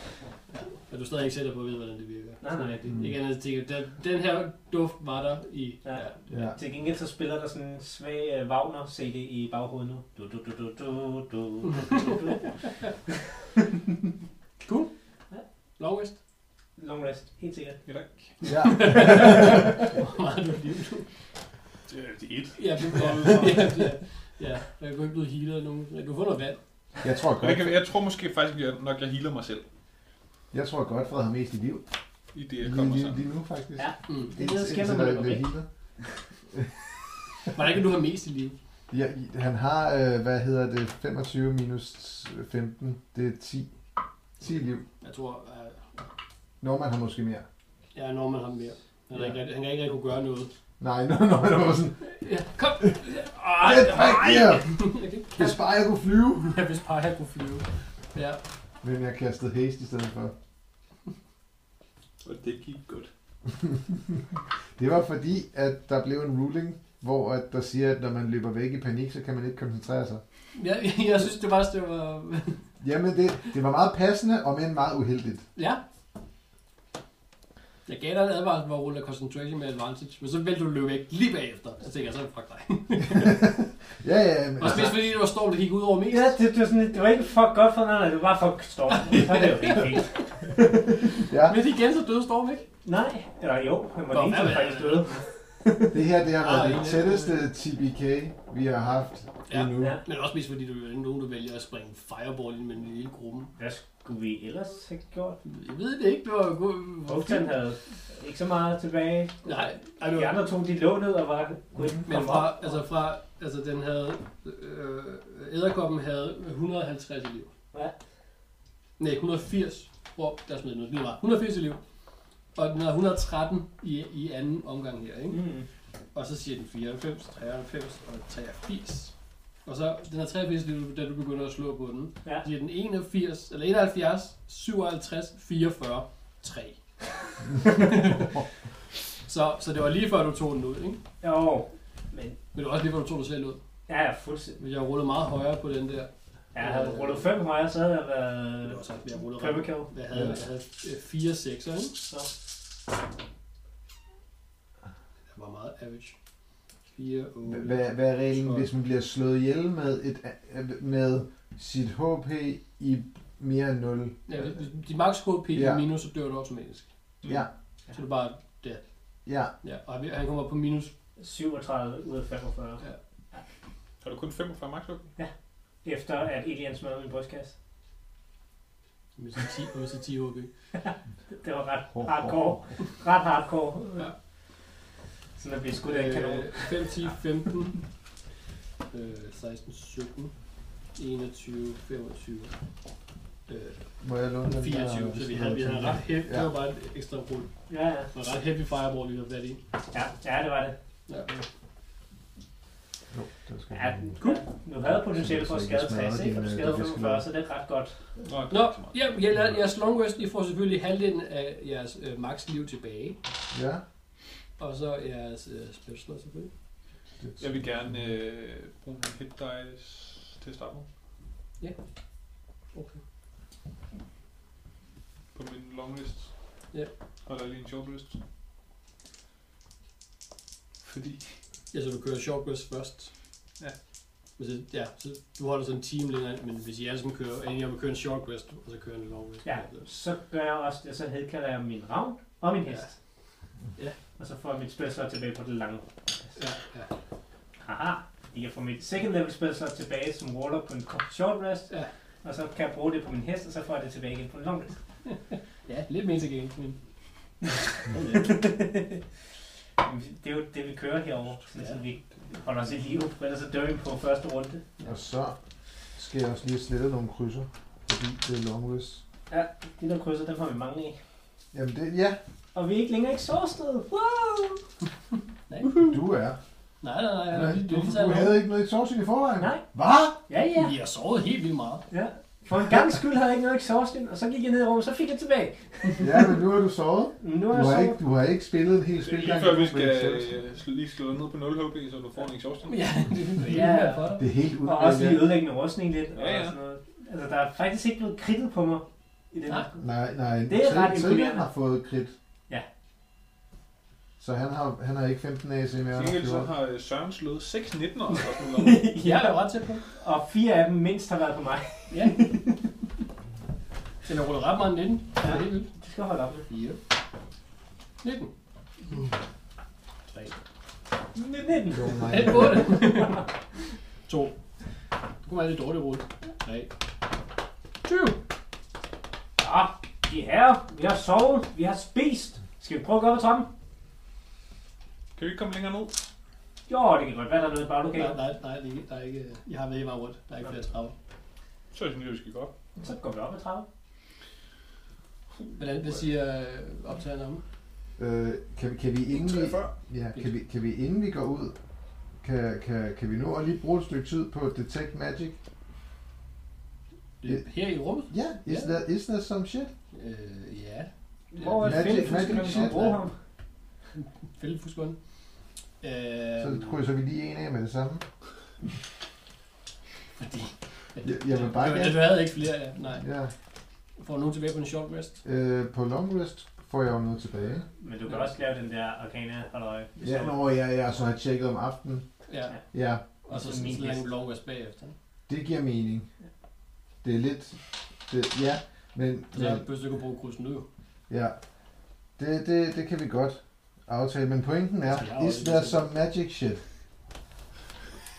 Speaker 5: Og du er stadig ikke sikker på at vide, hvordan det virker.
Speaker 4: Nej, nej, det-
Speaker 5: Mm. Ikke andet ting. Den, den her duft var der i...
Speaker 4: Ja.
Speaker 2: ja.
Speaker 4: Til gengæld så spiller der sådan en svag øh, Wagner-CD i baghovedet nu. Du, du, du, du, du, du, du, du.
Speaker 5: Long West.
Speaker 4: Long rest, helt sikkert.
Speaker 6: Ja, tak.
Speaker 2: ja.
Speaker 5: Hvor meget er du liv du?
Speaker 6: Det er det er et.
Speaker 5: Ja, du ja, ja, ja. Jeg kan jo ikke blive healet af nogen. Du får noget vand.
Speaker 2: Jeg tror
Speaker 6: Jeg,
Speaker 2: godt,
Speaker 6: kan, jeg tror måske faktisk, jeg, nok jeg healer mig selv
Speaker 2: jeg tror godt, Fred har mest i liv.
Speaker 6: i det, jeg
Speaker 2: Lige,
Speaker 6: kommer
Speaker 2: lige,
Speaker 6: sådan.
Speaker 2: lige nu, faktisk.
Speaker 4: Ja.
Speaker 5: Mm.
Speaker 4: Det er det, der sker,
Speaker 2: Indtil-
Speaker 4: når man
Speaker 2: indtil der
Speaker 4: løber væk.
Speaker 2: bliver healet.
Speaker 5: Hvordan kan du have mest i livet?
Speaker 2: Ja, i- han har, øh, hvad hedder det, 25 minus 15, det er 10. 10 liv.
Speaker 5: Jeg tror, at
Speaker 2: Norman har måske mere.
Speaker 5: jeg er Norman har mere. Han, ja.
Speaker 2: Ja.
Speaker 5: ikke, rigtig- han kan ikke rigtig kunne gøre noget.
Speaker 2: Nej, Norman var sådan,
Speaker 5: Ja, kom! Ej,
Speaker 2: Get back here!
Speaker 5: Jeg kan ikke
Speaker 2: hvis bare jeg kunne flyve.
Speaker 5: kaste, hvis bare jeg kunne flyve. Ja,
Speaker 2: Men jeg kastede haste i stedet for.
Speaker 6: Og det gik godt.
Speaker 2: Det var fordi, at der blev en ruling, hvor at der siger, at når man løber væk i panik, så kan man ikke koncentrere sig.
Speaker 5: jeg, jeg synes, det var, det var...
Speaker 2: Jamen, det, det var meget passende, og men meget uheldigt.
Speaker 5: Ja. Jeg gav dig en advarsel, hvor rulle concentration med advantage, men så valgte du at løbe væk lige bagefter. Så tænker jeg, så er det fuck dig.
Speaker 2: Ja, ja, men
Speaker 5: Og
Speaker 2: altså,
Speaker 5: hvis fordi det var storm, det gik ud over mest.
Speaker 4: Ja, det, det, var sådan, lidt- det var ikke for godt for nej, nej, det var bare for storm. Så er det jo helt fint.
Speaker 2: ja,
Speaker 5: Men igen, så døde storm, ikke?
Speaker 4: Nej, eller jo, han var
Speaker 5: Nå,
Speaker 4: lige
Speaker 5: hvad-
Speaker 4: til faktisk døde.
Speaker 2: det her det har været
Speaker 5: Ej.
Speaker 2: det tætteste TBK, vi har haft
Speaker 5: Ja.
Speaker 2: endnu.
Speaker 4: Ja.
Speaker 5: Men også mest fordi, du er nogen, der vælger at springe fireball ind mellem hele gruppen.
Speaker 4: Hvad skulle vi ellers have gjort?
Speaker 5: Jeg ved det ikke, det var god...
Speaker 4: Håkan havde ikke så meget tilbage.
Speaker 5: Nej, ej, det
Speaker 4: De
Speaker 5: var...
Speaker 4: andre to, de lå ned og var kunne ikke
Speaker 5: Men
Speaker 4: komme
Speaker 5: fra,
Speaker 4: op.
Speaker 5: altså fra, altså den havde, øh, æderkoppen havde 150 elever.
Speaker 4: Ja.
Speaker 5: Nej, 180. Hvor, der smed den ud. Lige meget. 180 elever. Og den havde 113 i, i anden omgang her, ikke?
Speaker 4: Mm.
Speaker 5: Og så siger den 94, 93 og 83. Og så den her 83, det er du- da du begynder at slå på den.
Speaker 4: Ja.
Speaker 5: Så siger den 81, eller 71, 57, 44, 3. så, så det var lige før du tog den ud, ikke?
Speaker 4: Jo, men
Speaker 5: Men det var også lige før du tog dig selv ud.
Speaker 4: ja, jeg er fuldstændig.
Speaker 5: Hvis jeg rullede meget højere på den der.
Speaker 4: Ja, jeg havde rullet fem højere, så havde jeg
Speaker 5: Det var
Speaker 4: været
Speaker 5: også, at jeg rullede ret.
Speaker 4: Pømmekæv.
Speaker 5: Jeg havde, jeg havde øh, fire sekser, ikke?
Speaker 4: Så
Speaker 5: Det var meget average. Fire, otte.
Speaker 2: Hvad, hvad er reglen, hvis man bliver slået ihjel med, et, med sit HP i mere end 0?
Speaker 5: Ja, hvis- din max HP er
Speaker 2: Ja.
Speaker 5: minus, så dør du automatisk.
Speaker 2: Ja,
Speaker 5: Så er det bare,
Speaker 2: ja.
Speaker 5: ja. Og han- han kommer op på minus.
Speaker 4: 37 ud af 45.
Speaker 6: Har du kun 45 max okay?
Speaker 4: Efter at Elian smadrede min brystkasse.
Speaker 5: Med sin 10, med sin 10 HP.
Speaker 4: Det var ret hardcore. Ret hardcore.
Speaker 5: Ja.
Speaker 4: Ja. Sådan at blive skudt af en kanon.
Speaker 5: Øh, 5, 10, 15. Øh, 16, 17. 21, 25. Øh,
Speaker 2: Må jeg låne den
Speaker 5: 24, så vi havde, vi havde ret heavy, det var bare et ekstra rull.
Speaker 4: Ja, ja.
Speaker 5: Det var ret heavy fireball, vi havde fat i.
Speaker 4: ja, ja, det var det.
Speaker 5: Ja.
Speaker 2: Jo, det skal
Speaker 4: Ja,
Speaker 2: jeg lige-
Speaker 4: cool. Du havde potentiale for at skade 60, ikke? Og du skadede
Speaker 2: Det skal
Speaker 4: 45,
Speaker 2: nok.
Speaker 4: så det er ret godt.
Speaker 6: Nå, det
Speaker 5: Nå,
Speaker 6: er ikke så meget.
Speaker 5: ja, jeg lader, jeres long rest, I får selvfølgelig halvdelen af jeres øh, max liv tilbage.
Speaker 2: Ja.
Speaker 5: Og så jeres øh, special slot selvfølgelig.
Speaker 2: det-
Speaker 6: Jeg vil gerne øh, bruge en hit dice til at starte med
Speaker 5: Okay.
Speaker 6: på min longlist.
Speaker 5: Ja.
Speaker 6: Og der er lige en shortlist. Fordi
Speaker 5: Ja, så du kører short rest først.
Speaker 6: Ja.
Speaker 5: Men så, ja, så du holder sådan en time længere, men hvis I alle sammen kører, er enige om at køre en short rest, og så kører en long rest.
Speaker 4: Ja, så gør jeg også det, så hedkalder jeg min ravn og min hest.
Speaker 5: Ja.
Speaker 4: Og så får jeg mit spilslot tilbage på det lange.
Speaker 5: Ja, ja.
Speaker 4: Haha, jeg får mit second level spil så tilbage som warlock på en kort- short rest.
Speaker 5: Ja.
Speaker 4: Og så kan jeg bruge det på min hest, og så får jeg det tilbage igen på en long rest.
Speaker 5: Ja, lidt mere til gengæld, men...
Speaker 4: Men det er jo det, vi kører herover,
Speaker 5: Ja.
Speaker 4: så vi holder os i live, for ellers så dør vi på første runde.
Speaker 2: Og så skal jeg også lige slette nogle krydser, fordi det er long rest.
Speaker 4: De der krydser, dem har vi mange af.
Speaker 2: Jamen det, ja,
Speaker 4: og vi er ikke længere exhausted. Wow!
Speaker 2: Du er.
Speaker 5: Nej, nej, nej.
Speaker 2: Nej,
Speaker 5: nej. Det,
Speaker 2: du,
Speaker 5: det, det,
Speaker 2: du havde ikke noget exhaustion i forvejen.
Speaker 4: Nej.
Speaker 2: Hvad?
Speaker 4: Ja, ja.
Speaker 5: Vi har sovet helt vildt meget.
Speaker 4: ja. For en gang skyld havde jeg ikke noget exhaustion, og så gik jeg ned i rummet, så fik jeg tilbage.
Speaker 2: Ja, men nu har du sovet.
Speaker 4: Nu
Speaker 2: Du
Speaker 4: er jeg
Speaker 2: har
Speaker 4: så...
Speaker 2: ikke, du har ikke spillet en hel
Speaker 6: Det er
Speaker 2: spilgang.
Speaker 6: lige før vi
Speaker 2: med
Speaker 6: skal
Speaker 2: exhaustion.
Speaker 6: øh, sl- lige slå ned på 0 HP, så du får en exhaustion.
Speaker 5: Ja, det
Speaker 4: Ja.
Speaker 5: er for dig.
Speaker 2: Det er helt ud.
Speaker 4: Og også lige ødelæggende rustning lidt. Og
Speaker 6: Ja, ja.
Speaker 4: Sådan noget. Altså, der er faktisk ikke blevet kridtet på mig i den
Speaker 5: Nej.
Speaker 4: her.
Speaker 2: Nej, nej.
Speaker 4: Det er ret
Speaker 2: Tri- Tri-
Speaker 4: imponerende.
Speaker 2: har fået krit.
Speaker 4: Ja.
Speaker 2: Så han har, han har ikke 15 AC mere.
Speaker 6: Til
Speaker 2: han har
Speaker 6: gengæld så
Speaker 2: 14.
Speaker 6: har øh, Søren slået 6 19'ere. eller sådan noget.
Speaker 5: Jeg er jo ret tæt på.
Speaker 4: Og fire af dem mindst har været på mig.
Speaker 5: Ja. Den har rullet ret meget 19. Det er helt vildt.
Speaker 4: Det skal jeg holde op med.
Speaker 5: 4. 19. 3.
Speaker 4: 19.
Speaker 2: Jo, nej.
Speaker 5: 8. 2. Det kunne være lidt dårligt rulle. 3. 20.
Speaker 4: Ja, de her, vi har sovet, vi har spist. Skal vi prøve at gå op ad trappen?
Speaker 6: Kan vi ikke komme længere ned?
Speaker 4: Jo, det kan godt være, der er noget
Speaker 5: Nej,
Speaker 4: i baglokalet.
Speaker 5: nej, nej, det er ikke, der er ikke, jeg har været meget rundt. Der er ikke flere trapper.
Speaker 6: Så synes jeg, vi skal gå op.
Speaker 4: Så går vi op ad trappen.
Speaker 5: Hvordan, hvad siger øh, optageren om?
Speaker 2: Øh, kan, kan vi inden vi,
Speaker 6: før.
Speaker 2: ja, kan vi, kan vi inden vi går ud, kan, kan, kan vi nå at lige bruge et stykke tid på Detect Magic?
Speaker 5: Det er her i rummet?
Speaker 2: Ja, yeah, is,
Speaker 5: Ja.
Speaker 2: That, is that some shit?
Speaker 5: Øh, ja.
Speaker 4: Hvor er
Speaker 2: Magic-
Speaker 4: Philip?
Speaker 2: magic
Speaker 4: Skal vi
Speaker 2: shit,
Speaker 4: bruge
Speaker 5: ja.
Speaker 4: ham?
Speaker 5: Fælde fuskånd. Øh,
Speaker 4: Øhm.
Speaker 2: Så krydser vi lige en af med det samme.
Speaker 5: fordi...
Speaker 2: Jeg, jeg vil bare
Speaker 5: Du-
Speaker 2: gerne...
Speaker 5: Du havde ikke flere, ja. Nej.
Speaker 2: Ja.
Speaker 5: Får nogen tilbage på en short rest?
Speaker 2: Øh, på long rest får jeg jo noget tilbage.
Speaker 4: Men du kan også lave den der organe, halløj.
Speaker 2: Ja, nå, ja, ja, så har jeg tjekket om aftenen.
Speaker 5: Ja. altså
Speaker 2: Ja,
Speaker 5: Og så sådan sådan en long rest bagefter.
Speaker 2: det giver mening. Det er lidt... Det, ja, men...
Speaker 5: Så
Speaker 2: men
Speaker 5: er pludselig kunne bruge krydsen nu jo.
Speaker 2: Ja, det, det, det kan vi godt aftale, men pointen
Speaker 5: Så jeg
Speaker 2: er, is
Speaker 5: har også
Speaker 2: there
Speaker 5: lidt-
Speaker 2: some magic shit?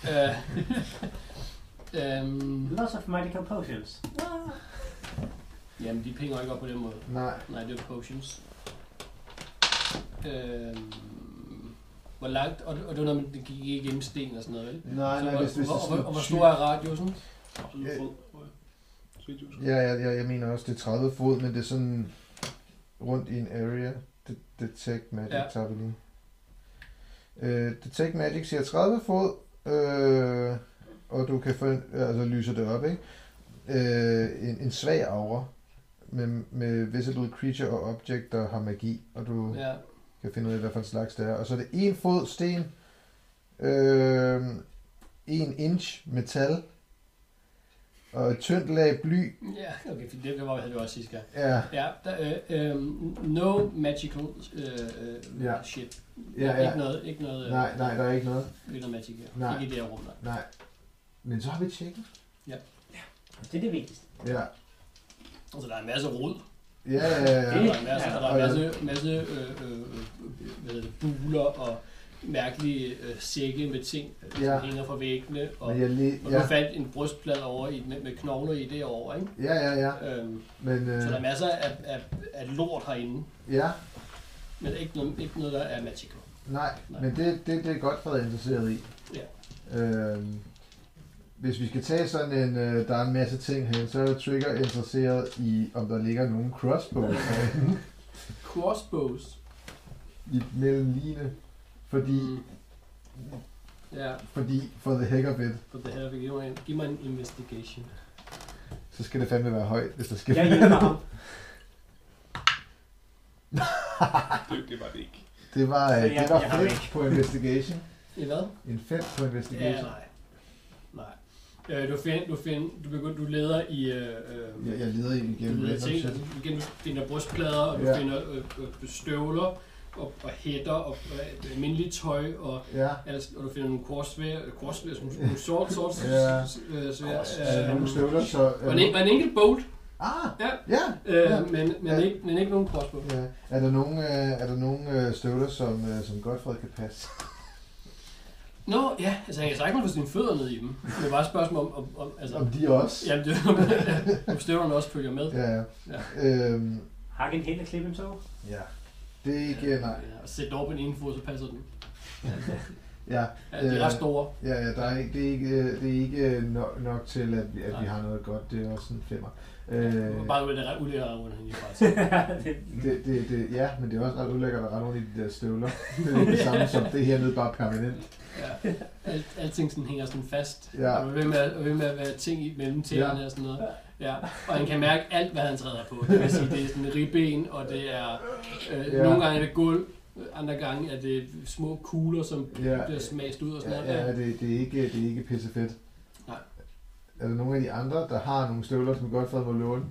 Speaker 5: Øh, øhm,
Speaker 4: Lots of magical potions.
Speaker 5: jamen, de penge ikke op på den måde.
Speaker 2: Nej,
Speaker 5: Nej, det er potions. Øhm, hvor langt? Og, og det var noget med, det gik ikke igennem sten og sådan noget, vel?
Speaker 2: nej, nej,
Speaker 5: så,
Speaker 2: hvis, hvis det
Speaker 5: hvor,
Speaker 2: er
Speaker 5: hvor,
Speaker 2: sådan
Speaker 5: hvor, hvor
Speaker 2: tyk-
Speaker 5: stor er radiusen?
Speaker 2: Ja.
Speaker 6: Sweet
Speaker 2: Ja, ja, ja, jeg mener også, det er 30 fod, men det er sådan rundt i en area. Det, detect Magic
Speaker 5: Ja.
Speaker 2: ja. tager vi lige. Øh, detect Magic siger 30 fod, øh, og du kan få en, altså lyser det op, ikke? Øh, en, en svag aura med, med visible creature og object, der har magi, og du ja.
Speaker 5: Ja.
Speaker 2: kan finde ud af, hvad for en slags det er. Og så er det en fod sten, øh, en inch metal, og et tyndt lag bly.
Speaker 5: Ja, okay, for det, det var, hvad det også sidste gang.
Speaker 2: Ja,
Speaker 5: Ja, der, øh, øh, no magical øh, øh,
Speaker 2: Ja.
Speaker 5: shit.
Speaker 2: ja, ja.
Speaker 5: Ikke noget, ikke noget, øh,
Speaker 2: Nej, nej, der er ikke noget.
Speaker 5: ikke noget magic her.
Speaker 2: Nej.
Speaker 5: Ikke i det her rum, der.
Speaker 2: Nej. Men så har vi tjekket.
Speaker 4: Det er det vigtigste.
Speaker 2: Ja.
Speaker 5: Altså, der er en masse rod.
Speaker 2: Ja, ja, ja.
Speaker 5: Der er en masse, der er en
Speaker 2: Ja.
Speaker 5: masse, masse øh, øh, øh, hvad hedder det, buler og mærkelige øh, sække med ting, øh, som
Speaker 2: Ja.
Speaker 5: hænger fra væggene. Og,
Speaker 2: Men jeg lige,
Speaker 5: og
Speaker 2: ja.
Speaker 5: du fandt en brystplade over i, med, med knogler i det over, ikke?
Speaker 2: ja, ja, ja.
Speaker 5: Øhm,
Speaker 2: Men
Speaker 5: så
Speaker 2: øh,
Speaker 5: der er masser af, af, af lort herinde,
Speaker 2: ja,
Speaker 5: men ikke noget, ikke noget der er magical.
Speaker 2: nej.
Speaker 5: Nej.
Speaker 2: Men det, det, det er godt for interesseret i.
Speaker 5: Ja.
Speaker 2: Øhm, hvis vi skal tage sådan en, øh, der er en masse ting her, så er Trigger interesseret i, om der ligger nogen crossbows herinde
Speaker 5: Crossbows.
Speaker 2: i mellem line. Fordi,
Speaker 5: Mm. Ja,
Speaker 2: fordi for the heck of it,
Speaker 5: for det her vil give mig en, give mig en investigation.
Speaker 2: så skal det fandme være højt, hvis der skal
Speaker 4: Jeg hjælper ham.
Speaker 6: Det, det var det ikke.
Speaker 2: Det var, øh,
Speaker 4: Så jeg-
Speaker 2: det var
Speaker 4: jeg har
Speaker 2: fedt på investigation.
Speaker 5: I hvad?
Speaker 2: En fem på
Speaker 5: Ja,
Speaker 2: investigation.
Speaker 5: nej. Nej. Øh, du, find, du, find, du, begynder, du leder i... Øh, øh,
Speaker 2: Jeg, jeg leder i
Speaker 5: Du
Speaker 2: igennem
Speaker 5: finder
Speaker 2: random
Speaker 5: ting,
Speaker 2: shit.
Speaker 5: altså, du finder- finder brystplader, og du
Speaker 2: Ja.
Speaker 5: finder øh, øh, støvler, og, og hætter, og øh, almindeligt tøj, og,
Speaker 2: Ja.
Speaker 5: altså, og du finder nogle korsvær, øh, korsvær, sådan nogle- nogle sort, sort,
Speaker 2: Ja.
Speaker 5: øh, svær,
Speaker 2: Øh,
Speaker 5: øh,
Speaker 2: nogle støvler, så... øh,
Speaker 5: og en, og en enkelt bolt,
Speaker 2: Ah!
Speaker 5: Ja.
Speaker 2: Ja!
Speaker 5: øh,
Speaker 2: Ja.
Speaker 5: men, men,
Speaker 2: Ja.
Speaker 5: ikke, men ikke nogen crossbow.
Speaker 2: ja. Er der nogen, øh, er der nogen øh, støvler, som, øh, som Godfred kan passe?
Speaker 5: Nå, ja, altså han kan sagtens få sine fødder ned i dem. Det er bare et spørgsmål om, om, om altså,
Speaker 2: Om de også?
Speaker 5: jamen, det, om støvlerne også følger med.
Speaker 2: Ja.
Speaker 5: Ja.
Speaker 2: Øhm,
Speaker 4: Hak en hæl og klip en tog.
Speaker 2: ja. Det er ikke... øh, Nej.
Speaker 5: Ja, og sæt den over på den ene fod, så passer den.
Speaker 2: Ja,
Speaker 5: Ja,
Speaker 2: Øh,
Speaker 5: de er ret store.
Speaker 2: ja, ja der er, ikke- det, er ikke, øh, det er ikke øh, nok, nok til, at, vi- at vi har noget godt. Det er også en femmer. Øh,
Speaker 5: Bare det er ret ulækkert at runde hende i
Speaker 2: det, det, det, ja, men det er også ret ulækkert at rende rundt i de der støvler. Det er det samme som det her nede bare permanent.
Speaker 5: Ja. Alt, alting sådan hænger sådan fast.
Speaker 2: Ja.
Speaker 5: Og ved med, at- og ved med at være ting i mellem tæerne
Speaker 2: Ja.
Speaker 5: og sådan noget. Ja. Og han kan mærke alt, hvad han træder på. Det vil sige, det er sådan ribben, og det er... Øh,
Speaker 2: Ja.
Speaker 5: Nogle gange er det gulv, andre gange er det små kugler, som
Speaker 2: Ja.
Speaker 5: bliver smast ud og sådan
Speaker 2: Ja, ja
Speaker 5: noget.
Speaker 2: det, det, er ikke, det er ikke pisse fedt.
Speaker 5: Nej.
Speaker 2: Er der nogen af de andre, der har nogle støvler, som godt får at låne?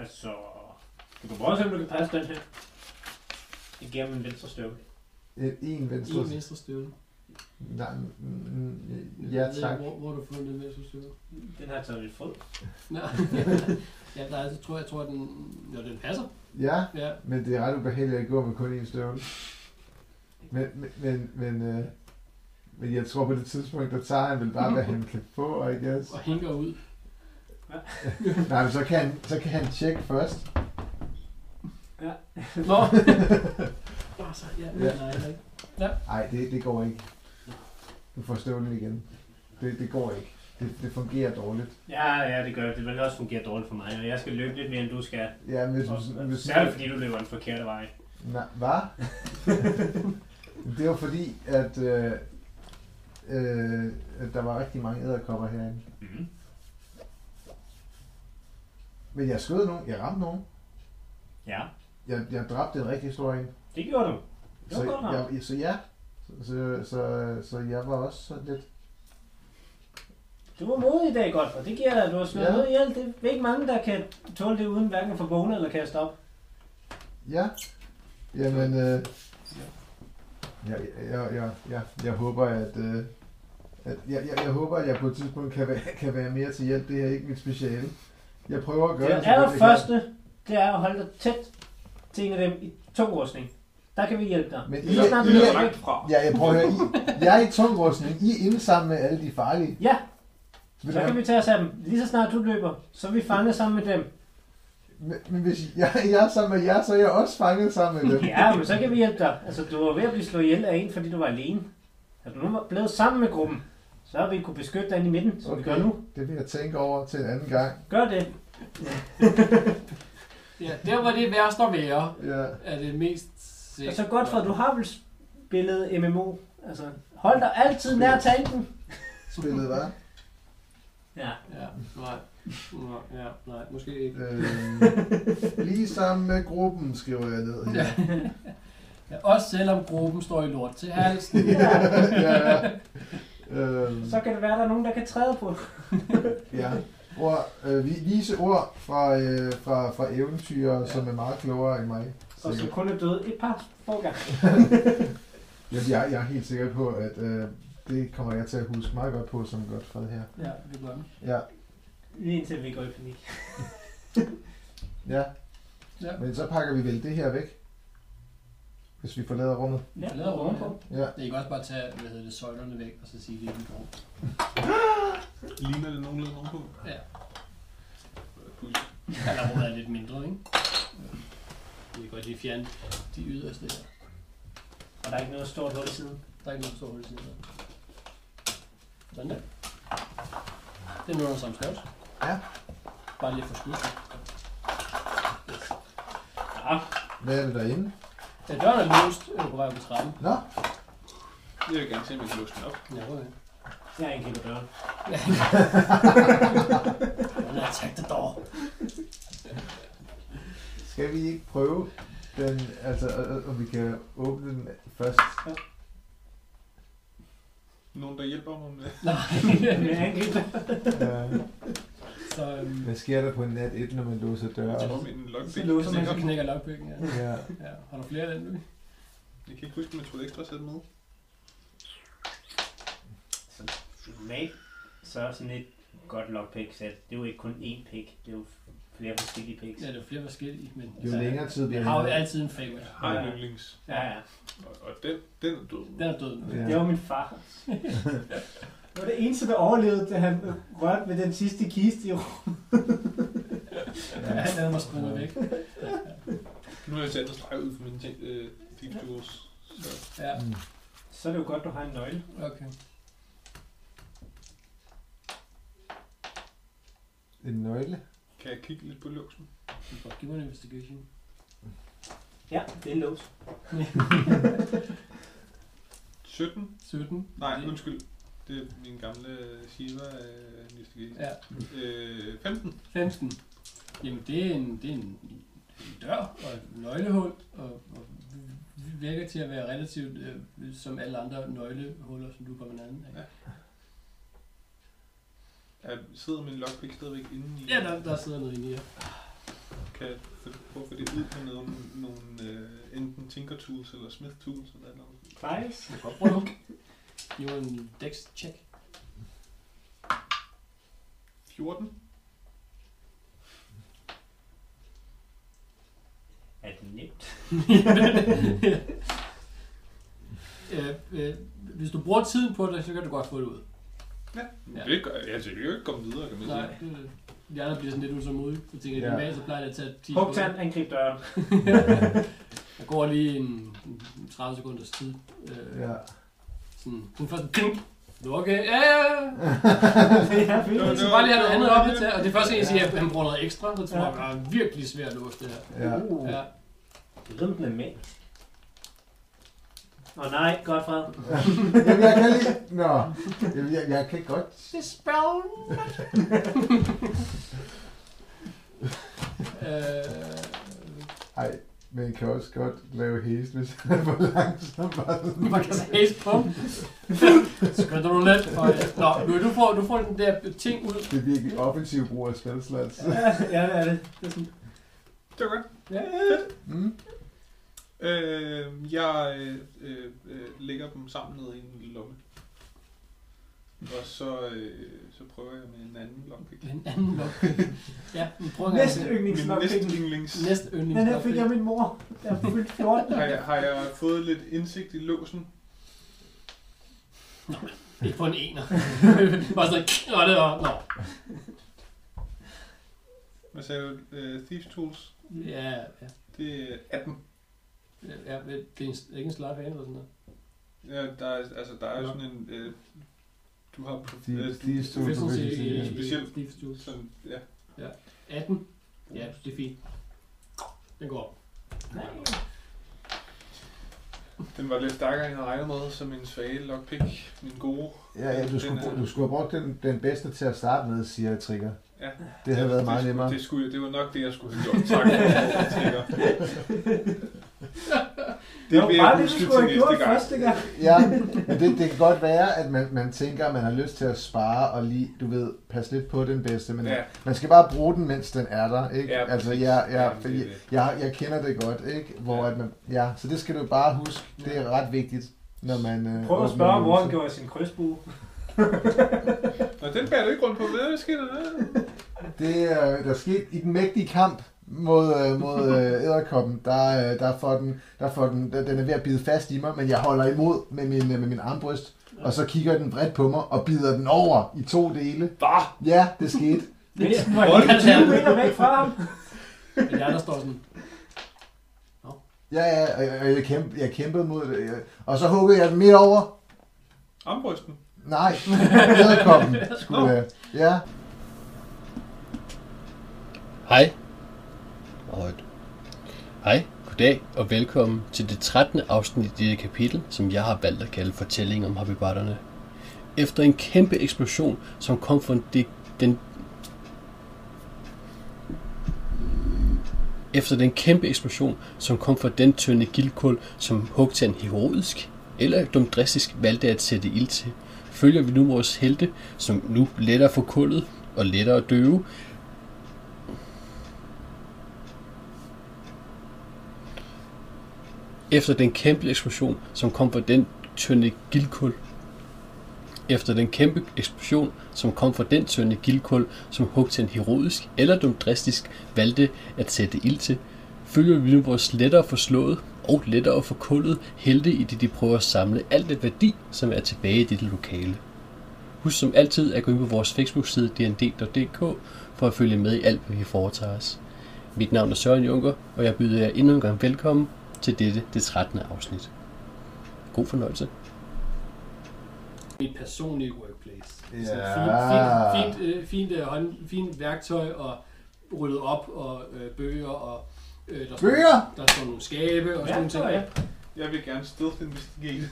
Speaker 4: Altså, du kan prøve at se, om du kan passe den her. Det giver mig en venstre støvle.
Speaker 2: En, en venstre.
Speaker 5: I venstre støvle.
Speaker 2: Nej, mm, mm,
Speaker 5: Jeg
Speaker 2: ja,
Speaker 5: ved ikke,
Speaker 2: tak.
Speaker 5: Hvor, hvor har du fundet den venstre støvle?
Speaker 4: Den har jeg taget lidt fod.
Speaker 5: Nå, ja, der er, jeg tror, jeg tror, den, når den passer.
Speaker 2: Ja,
Speaker 5: Ja.
Speaker 2: men det er ret ubehageligt at gå med kun én støvle. Men, men, men, men, øh, men jeg tror på det tidspunkt, der tager han vel bare, hvad han kan få, I guess.
Speaker 5: Og hinker ud.
Speaker 2: Nej, men så kan, han- så kan han tjekke først.
Speaker 5: Nå. Åh, så, ja,
Speaker 2: Ja.
Speaker 5: ja. Nej, nej.
Speaker 2: Nej, det, det går ikke. Du får støvlen igen. Det, det går ikke. Det, det fungerer dårligt.
Speaker 4: Ja, ja, det gør det. Det vil også fungere dårligt for mig, og jeg skal løbe lidt mere, end du skal.
Speaker 2: Ja, hvis,
Speaker 4: Og,
Speaker 2: hvis, hvis,
Speaker 4: særligt fordi du løber den forkerte vej.
Speaker 2: Nej, hvad? det var fordi, at, øh, øh, at der var rigtig mange æderkopper herinde.
Speaker 4: Mm.
Speaker 2: Men jeg skød nogen, jeg ramte nogen.
Speaker 4: Ja,
Speaker 2: Jeg, jeg dræbte en rigtig stor en.
Speaker 4: det gjorde du. Det
Speaker 2: Så,
Speaker 4: var godt nok.
Speaker 2: jeg, så ja, så, så, så, så jeg var også sådan lidt...
Speaker 4: Du var modig i dag, godt, og det giver dig, at du har slået
Speaker 2: Ja.
Speaker 4: ja. noget ihjel. Det er ikke mange, der kan tåle det uden hverken at få vågne eller kaste op.
Speaker 2: Ja, jamen... Øh, jeg, jeg, jeg, jeg, jeg håber, at... Øh, at jeg, jeg, jeg håber, at jeg på et tidspunkt kan være, kan være mere til hjælp. Det er ikke mit speciale. Jeg prøver at gøre
Speaker 4: Det
Speaker 2: det, så godt, jeg kan.
Speaker 4: allerførste, det er at holde dig tæt til en af dem i tungrustning. Der kan vi hjælpe dig.
Speaker 2: Men
Speaker 4: Lige snart du
Speaker 2: I-
Speaker 6: Det
Speaker 2: I-
Speaker 6: er
Speaker 4: løber væk.
Speaker 6: langt fra.
Speaker 2: Ja, jeg prøver at høre, I, jeg er i tungrustning. I er inde sammen med alle de farlige.
Speaker 4: Ja,
Speaker 2: Ved du
Speaker 4: så
Speaker 2: hvad?
Speaker 4: kan vi tage os af dem. Lige så snart du løber, så er vi fanget sammen med dem.
Speaker 2: Men- Men hvis jeg, jeg er sammen med jer, så er jeg også fanget sammen med dem.
Speaker 4: Ja, men så kan vi hjælpe dig. Altså, du var ved at blive slået ihjel af en, fordi du var alene. Er du nu var blevet sammen med gruppen, så har vi kunne beskytte dig inde i midten, som okay. vi gør nu.
Speaker 2: Det vil jeg tænke over til en anden gang.
Speaker 4: Gør det.
Speaker 5: Ja, der var det værste at være,
Speaker 2: Ja,
Speaker 5: er det mest... Altså,
Speaker 4: Og så Altså, godt for, at du har vel spillet MMO. Altså, hold dig altid nær tanken.
Speaker 2: spillet hvad?
Speaker 4: Ja.
Speaker 5: Ja, nej. Nå, ja, nej, måske ikke.
Speaker 2: Øh, lige sammen med gruppen, skriver jeg ned her.
Speaker 5: Ja. Ja, også selvom gruppen står i lort til halsen.
Speaker 4: ja.
Speaker 2: ja, ja. Øh,
Speaker 4: Så kan det være, at der er nogen, der kan træde på.
Speaker 2: ja. Ord, øh, vi- vise ord fra, øh, fra, fra eventyr, ja. som er meget klogere end mig.
Speaker 4: Og så kun er døde et par få gange.
Speaker 2: Jeg, jeg, jeg er helt sikker på, at øh, det kommer jeg til at huske meget godt på som godt fred her.
Speaker 5: Ja, det gør den.
Speaker 2: Ja,
Speaker 4: Lige indtil vi går i panik.
Speaker 2: ja.
Speaker 5: Ja.
Speaker 2: Men så pakker vi vel det her væk, hvis vi forlader rummet.
Speaker 4: Ja,
Speaker 5: Lad rum på.
Speaker 2: Ja.
Speaker 5: Det kan også bare tage, hvad hedder det, søjlerne væk, og så sige, det er en bro.
Speaker 6: Ligner det nogenlunde ovenpå?
Speaker 5: Ja.
Speaker 6: Puh,
Speaker 5: Eller rummet er lidt mindre, ikke? Vi kan godt lige fjerne de yderste der.
Speaker 4: Og der er ikke noget stort hul i siden.
Speaker 5: Der er ikke nogen stor hul i siden. af. Sådan der. Det er nu under samme størrelse.
Speaker 2: Ja.
Speaker 5: Bare lige for skud.
Speaker 4: Ja,
Speaker 2: Hvad er det derinde?
Speaker 5: Da døren er låst, er du på vej op ad trappen.
Speaker 2: Nå,
Speaker 6: Jeg vil gerne se, om jeg kan låse den op.
Speaker 5: Ja, okay.
Speaker 4: jeg er en kæmpe døren.
Speaker 5: Den er tægt dog.
Speaker 2: skal vi ikke prøve den, altså øh, øh, om vi kan åbne den først?
Speaker 6: Nogen, der hjælper mig med det?
Speaker 5: Nej.
Speaker 4: Jeg er en kæmpe
Speaker 2: Øh,
Speaker 5: så, øhm,
Speaker 2: hvad sker der på nat 1, når man låser døre?
Speaker 6: Jeg
Speaker 2: op?
Speaker 6: tror, min logbæk
Speaker 4: Så låser
Speaker 5: så
Speaker 4: man
Speaker 5: man
Speaker 6: knækker.
Speaker 5: så knækker logbøkken, ja.
Speaker 2: Ja.
Speaker 5: ja. Har du flere af den, Louis?
Speaker 6: Jeg kan ikke huske, om jeg troede ekstra sæt med.
Speaker 4: Normalt, så er sådan et godt lockpick sæt. Det er jo ikke kun én pick, det er jo flere forskellige picks.
Speaker 5: Ja, det er flere forskellige, men... altså,
Speaker 2: Jo længere tid vi
Speaker 5: Jeg har jo altid en favorite.
Speaker 6: Jeg har en
Speaker 4: Ja.
Speaker 6: yndlings.
Speaker 4: Ja, ja.
Speaker 6: Og, og den, den er død.
Speaker 5: Den er død nu.
Speaker 4: Det var min far. det var det eneste, der overlevede, da han rørte ved den sidste kiste i
Speaker 5: Ja, den er mig sprunget væk.
Speaker 2: mm.
Speaker 6: Nu har jeg sat en streg ud for min ting, øh, teamstores. Så
Speaker 5: Ja.
Speaker 4: så er det jo godt, du har en nøgle.
Speaker 5: Okay.
Speaker 2: En nøgle.
Speaker 6: Kan jeg kigge lidt på låsen?
Speaker 5: Du får give mig en investigation.
Speaker 4: Ja, det er en lås.
Speaker 6: 17?
Speaker 5: 17.
Speaker 6: Nej,
Speaker 5: Det-
Speaker 6: undskyld. Det er min gamle Shiva øh, investigation.
Speaker 5: Ja.
Speaker 6: Øh, 15.
Speaker 5: 15. Jamen, det er en, det er en, en dør og et nøglehul, og, og vi- virker til at være relativt øh, som alle andre nøglehuller, som du kommer nærmest af.
Speaker 6: Ja. Er, sidder min lockpick stadigvæk inde i?
Speaker 5: Ja, der, der sidder noget inde i her.
Speaker 6: Kan jeg få- prøve at få det ud på nogle, nogle øh, enten Tinker Tools eller Smith Tools eller noget?
Speaker 4: Faktisk.
Speaker 5: Du kan godt bruge Jo, en dex check.
Speaker 6: 14?
Speaker 4: Er det nemt?
Speaker 5: øh, øh, hvis du bruger tiden på det, så kan du godt få det ud.
Speaker 6: Ja.
Speaker 5: Ja.
Speaker 6: ja. Det gør jeg. Altså, jeg kan jo ikke komme videre. Kan man sige.
Speaker 5: Nej, det, de andre bliver sådan lidt utålmodige. Jeg tænker, at
Speaker 2: Ja.
Speaker 5: normalt så plejer det at tage 10
Speaker 4: Hugtand, angrib døren.
Speaker 5: Der går lige en, en 30 sekunders tid. Øh,
Speaker 2: Ja.
Speaker 5: Sådan, den første ting. Okay, ja, ja, ja.
Speaker 4: det er
Speaker 6: Det var-
Speaker 5: Jeg
Speaker 4: vildt.
Speaker 5: skal bare lige have det andet op lidt til, og det er første gang, jeg siger, at han bruger noget ekstra, så tror
Speaker 4: Ja.
Speaker 5: jeg, at det er virkelig svært at låse det her.
Speaker 2: Ja.
Speaker 4: Uh,
Speaker 5: Ja.
Speaker 4: det lyder med mag. Åh oh, nej, godt fred.
Speaker 2: Jamen, jeg kan lige... Nå. Jamen, jeg, jeg kan godt...
Speaker 5: Det er spændende. øh,
Speaker 2: Ej, men jeg kan også godt lave hæst, hvis han er for langsom. Bare sådan.
Speaker 5: man kan sæs på. Skal du nu lidt? for- Nå, du, du, får, du får den der ting ud.
Speaker 2: Det er virkelig offensiv brug af spilslats.
Speaker 4: ja, det er det. det er sådan.
Speaker 6: Det var godt.
Speaker 5: Ja.
Speaker 2: Mm.
Speaker 6: Øh, jeg øh, øh, øh, lægger dem sammen ned i en lille lomme. Og så, øh, så prøver jeg med en anden lockpick.
Speaker 5: En anden lok. Ja, men prøv en gang
Speaker 4: Næste
Speaker 5: til.
Speaker 6: Min næste
Speaker 4: yndlingsnokpinkel.
Speaker 6: yndlings.
Speaker 5: Næste
Speaker 4: Den her
Speaker 5: yndlingslok.
Speaker 4: fik jeg min mor. Jeg er fyldt 14.
Speaker 6: Har jeg, har jeg fået lidt indsigt i låsen?
Speaker 5: Ikke på en ener. Bare sådan, og det var, nå.
Speaker 6: Hvad sagde du? Øh, Thieves Tools?
Speaker 5: Ja, ja.
Speaker 6: Det er 18.
Speaker 5: Ja, det er en- ikke en slap eller sådan noget.
Speaker 6: Ja, der er, altså, der er jo sådan en... Øh, du har...
Speaker 2: De-
Speaker 6: øh,
Speaker 2: de er
Speaker 6: du-
Speaker 2: store
Speaker 5: Efficiency
Speaker 2: proficiency,
Speaker 5: i-
Speaker 2: ja.
Speaker 5: i-
Speaker 6: Specielt.
Speaker 5: Thieves Tools.
Speaker 6: Sådan, ja.
Speaker 5: 18. Ja, det er fint. Den går op.
Speaker 4: Nej.
Speaker 6: Den var lidt stærkere, end jeg havde regnet med, så min svage lockpick, min gode.
Speaker 2: Ja, ja, du skulle,
Speaker 6: Den er-
Speaker 2: bruge- du skulle have brugt den, den bedste til at starte med, siger jeg, Trigger.
Speaker 6: Ja.
Speaker 2: Det havde været meget
Speaker 6: det,
Speaker 2: nemmere.
Speaker 6: Det, skulle, det var nok det, jeg skulle have gjort. Tak. for Trigger.
Speaker 4: Det var
Speaker 6: vil jeg
Speaker 4: bare det, du
Speaker 6: huske
Speaker 4: skulle
Speaker 6: til
Speaker 4: have
Speaker 6: næste
Speaker 4: gjort
Speaker 6: gang.
Speaker 4: første gang.
Speaker 2: Ja, men det, det kan godt være, at man, man tænker, at man har lyst til at spare og lige, du ved, passe lidt på den bedste, men ja.
Speaker 6: Ja.
Speaker 2: man skal bare bruge den, mens den er der, ikke?
Speaker 6: Ja,
Speaker 2: altså,
Speaker 6: præcis.
Speaker 2: jeg, jeg,
Speaker 6: Jamen, det er
Speaker 2: fordi,
Speaker 6: det.
Speaker 2: jeg, jeg kender det godt, ikke? Hvor
Speaker 6: Ja.
Speaker 2: at man, ja, så det skal du bare huske. Det er ret vigtigt, når man... Øh,
Speaker 4: Prøv at
Speaker 2: åbner
Speaker 4: spørge,
Speaker 2: en
Speaker 4: hvor han
Speaker 2: øvelse.
Speaker 4: gjorde sin krydsbue.
Speaker 6: Nå, den bærer du ikke rundt på. Hvad sker der?
Speaker 2: Det, øh, der skete i den mægtige kamp mod, øh, mod øh, æderkoppen, der, øh, der, får den, der får den, der, den er ved at bide fast i mig, men jeg holder imod med min, øh, med min armbryst, og så kigger den bredt på mig og bider den over i to dele.
Speaker 6: Bah!
Speaker 2: Ja, det skete.
Speaker 4: Men
Speaker 5: Det
Speaker 4: den var
Speaker 5: Hold
Speaker 4: helt
Speaker 5: da
Speaker 4: 20
Speaker 5: op.
Speaker 4: meter væk fra ham.
Speaker 5: Men der, der står sådan,
Speaker 2: Ja, ja, og jeg, og jeg, kæmp, jeg kæmpede mod det, jeg- og så huggede jeg den midt over.
Speaker 6: Armbrysten.
Speaker 2: Nej, æderkoppen skulle jeg. Ja,
Speaker 1: Hej. Og højt. Hej, goddag og velkommen til det 13. afsnit i dette kapitel, som jeg har valgt at kalde Fortælling om Hobbybotterne. Efter en kæmpe eksplosion, som kom fra de, den Efter den kæmpe eksplosion, som kom fra den tynde gildkul, som Hugtan heroisk eller dumdristisk valgte at sætte ild til, følger vi nu vores helte, som nu lettere for kullet og lettere at døve, efter den kæmpe eksplosion, som kom fra den tynde gildkul. Efter den kæmpe eksplosion, som kom fra den tynde gildkul, som Hugtan heroisk eller dumdristisk valgte at sætte ild til, følger vi nu vores lettere forslået og lettere forkullet helte i det, de prøver at samle alt det værdi, som er tilbage i dette lokale. Husk som altid at gå ind på vores Facebook-side dnd.dk for at følge med i alt, hvad vi foretager os. Mit navn er Søren Junker, og jeg byder jer endnu en gang velkommen til dette, det 13. afsnit. God fornøjelse.
Speaker 5: mit personlige workplace.
Speaker 2: Ja.
Speaker 5: Sådan fint, fint, fint, øh, fint, øh, hånd, fint værktøj og ryddet op og øh, bøger og øh, der står,
Speaker 2: Bøger?
Speaker 5: Der står nogle skabe og sådan nogle ting.
Speaker 4: Værktøj, ja.
Speaker 6: Jeg vil gerne stealth investigate.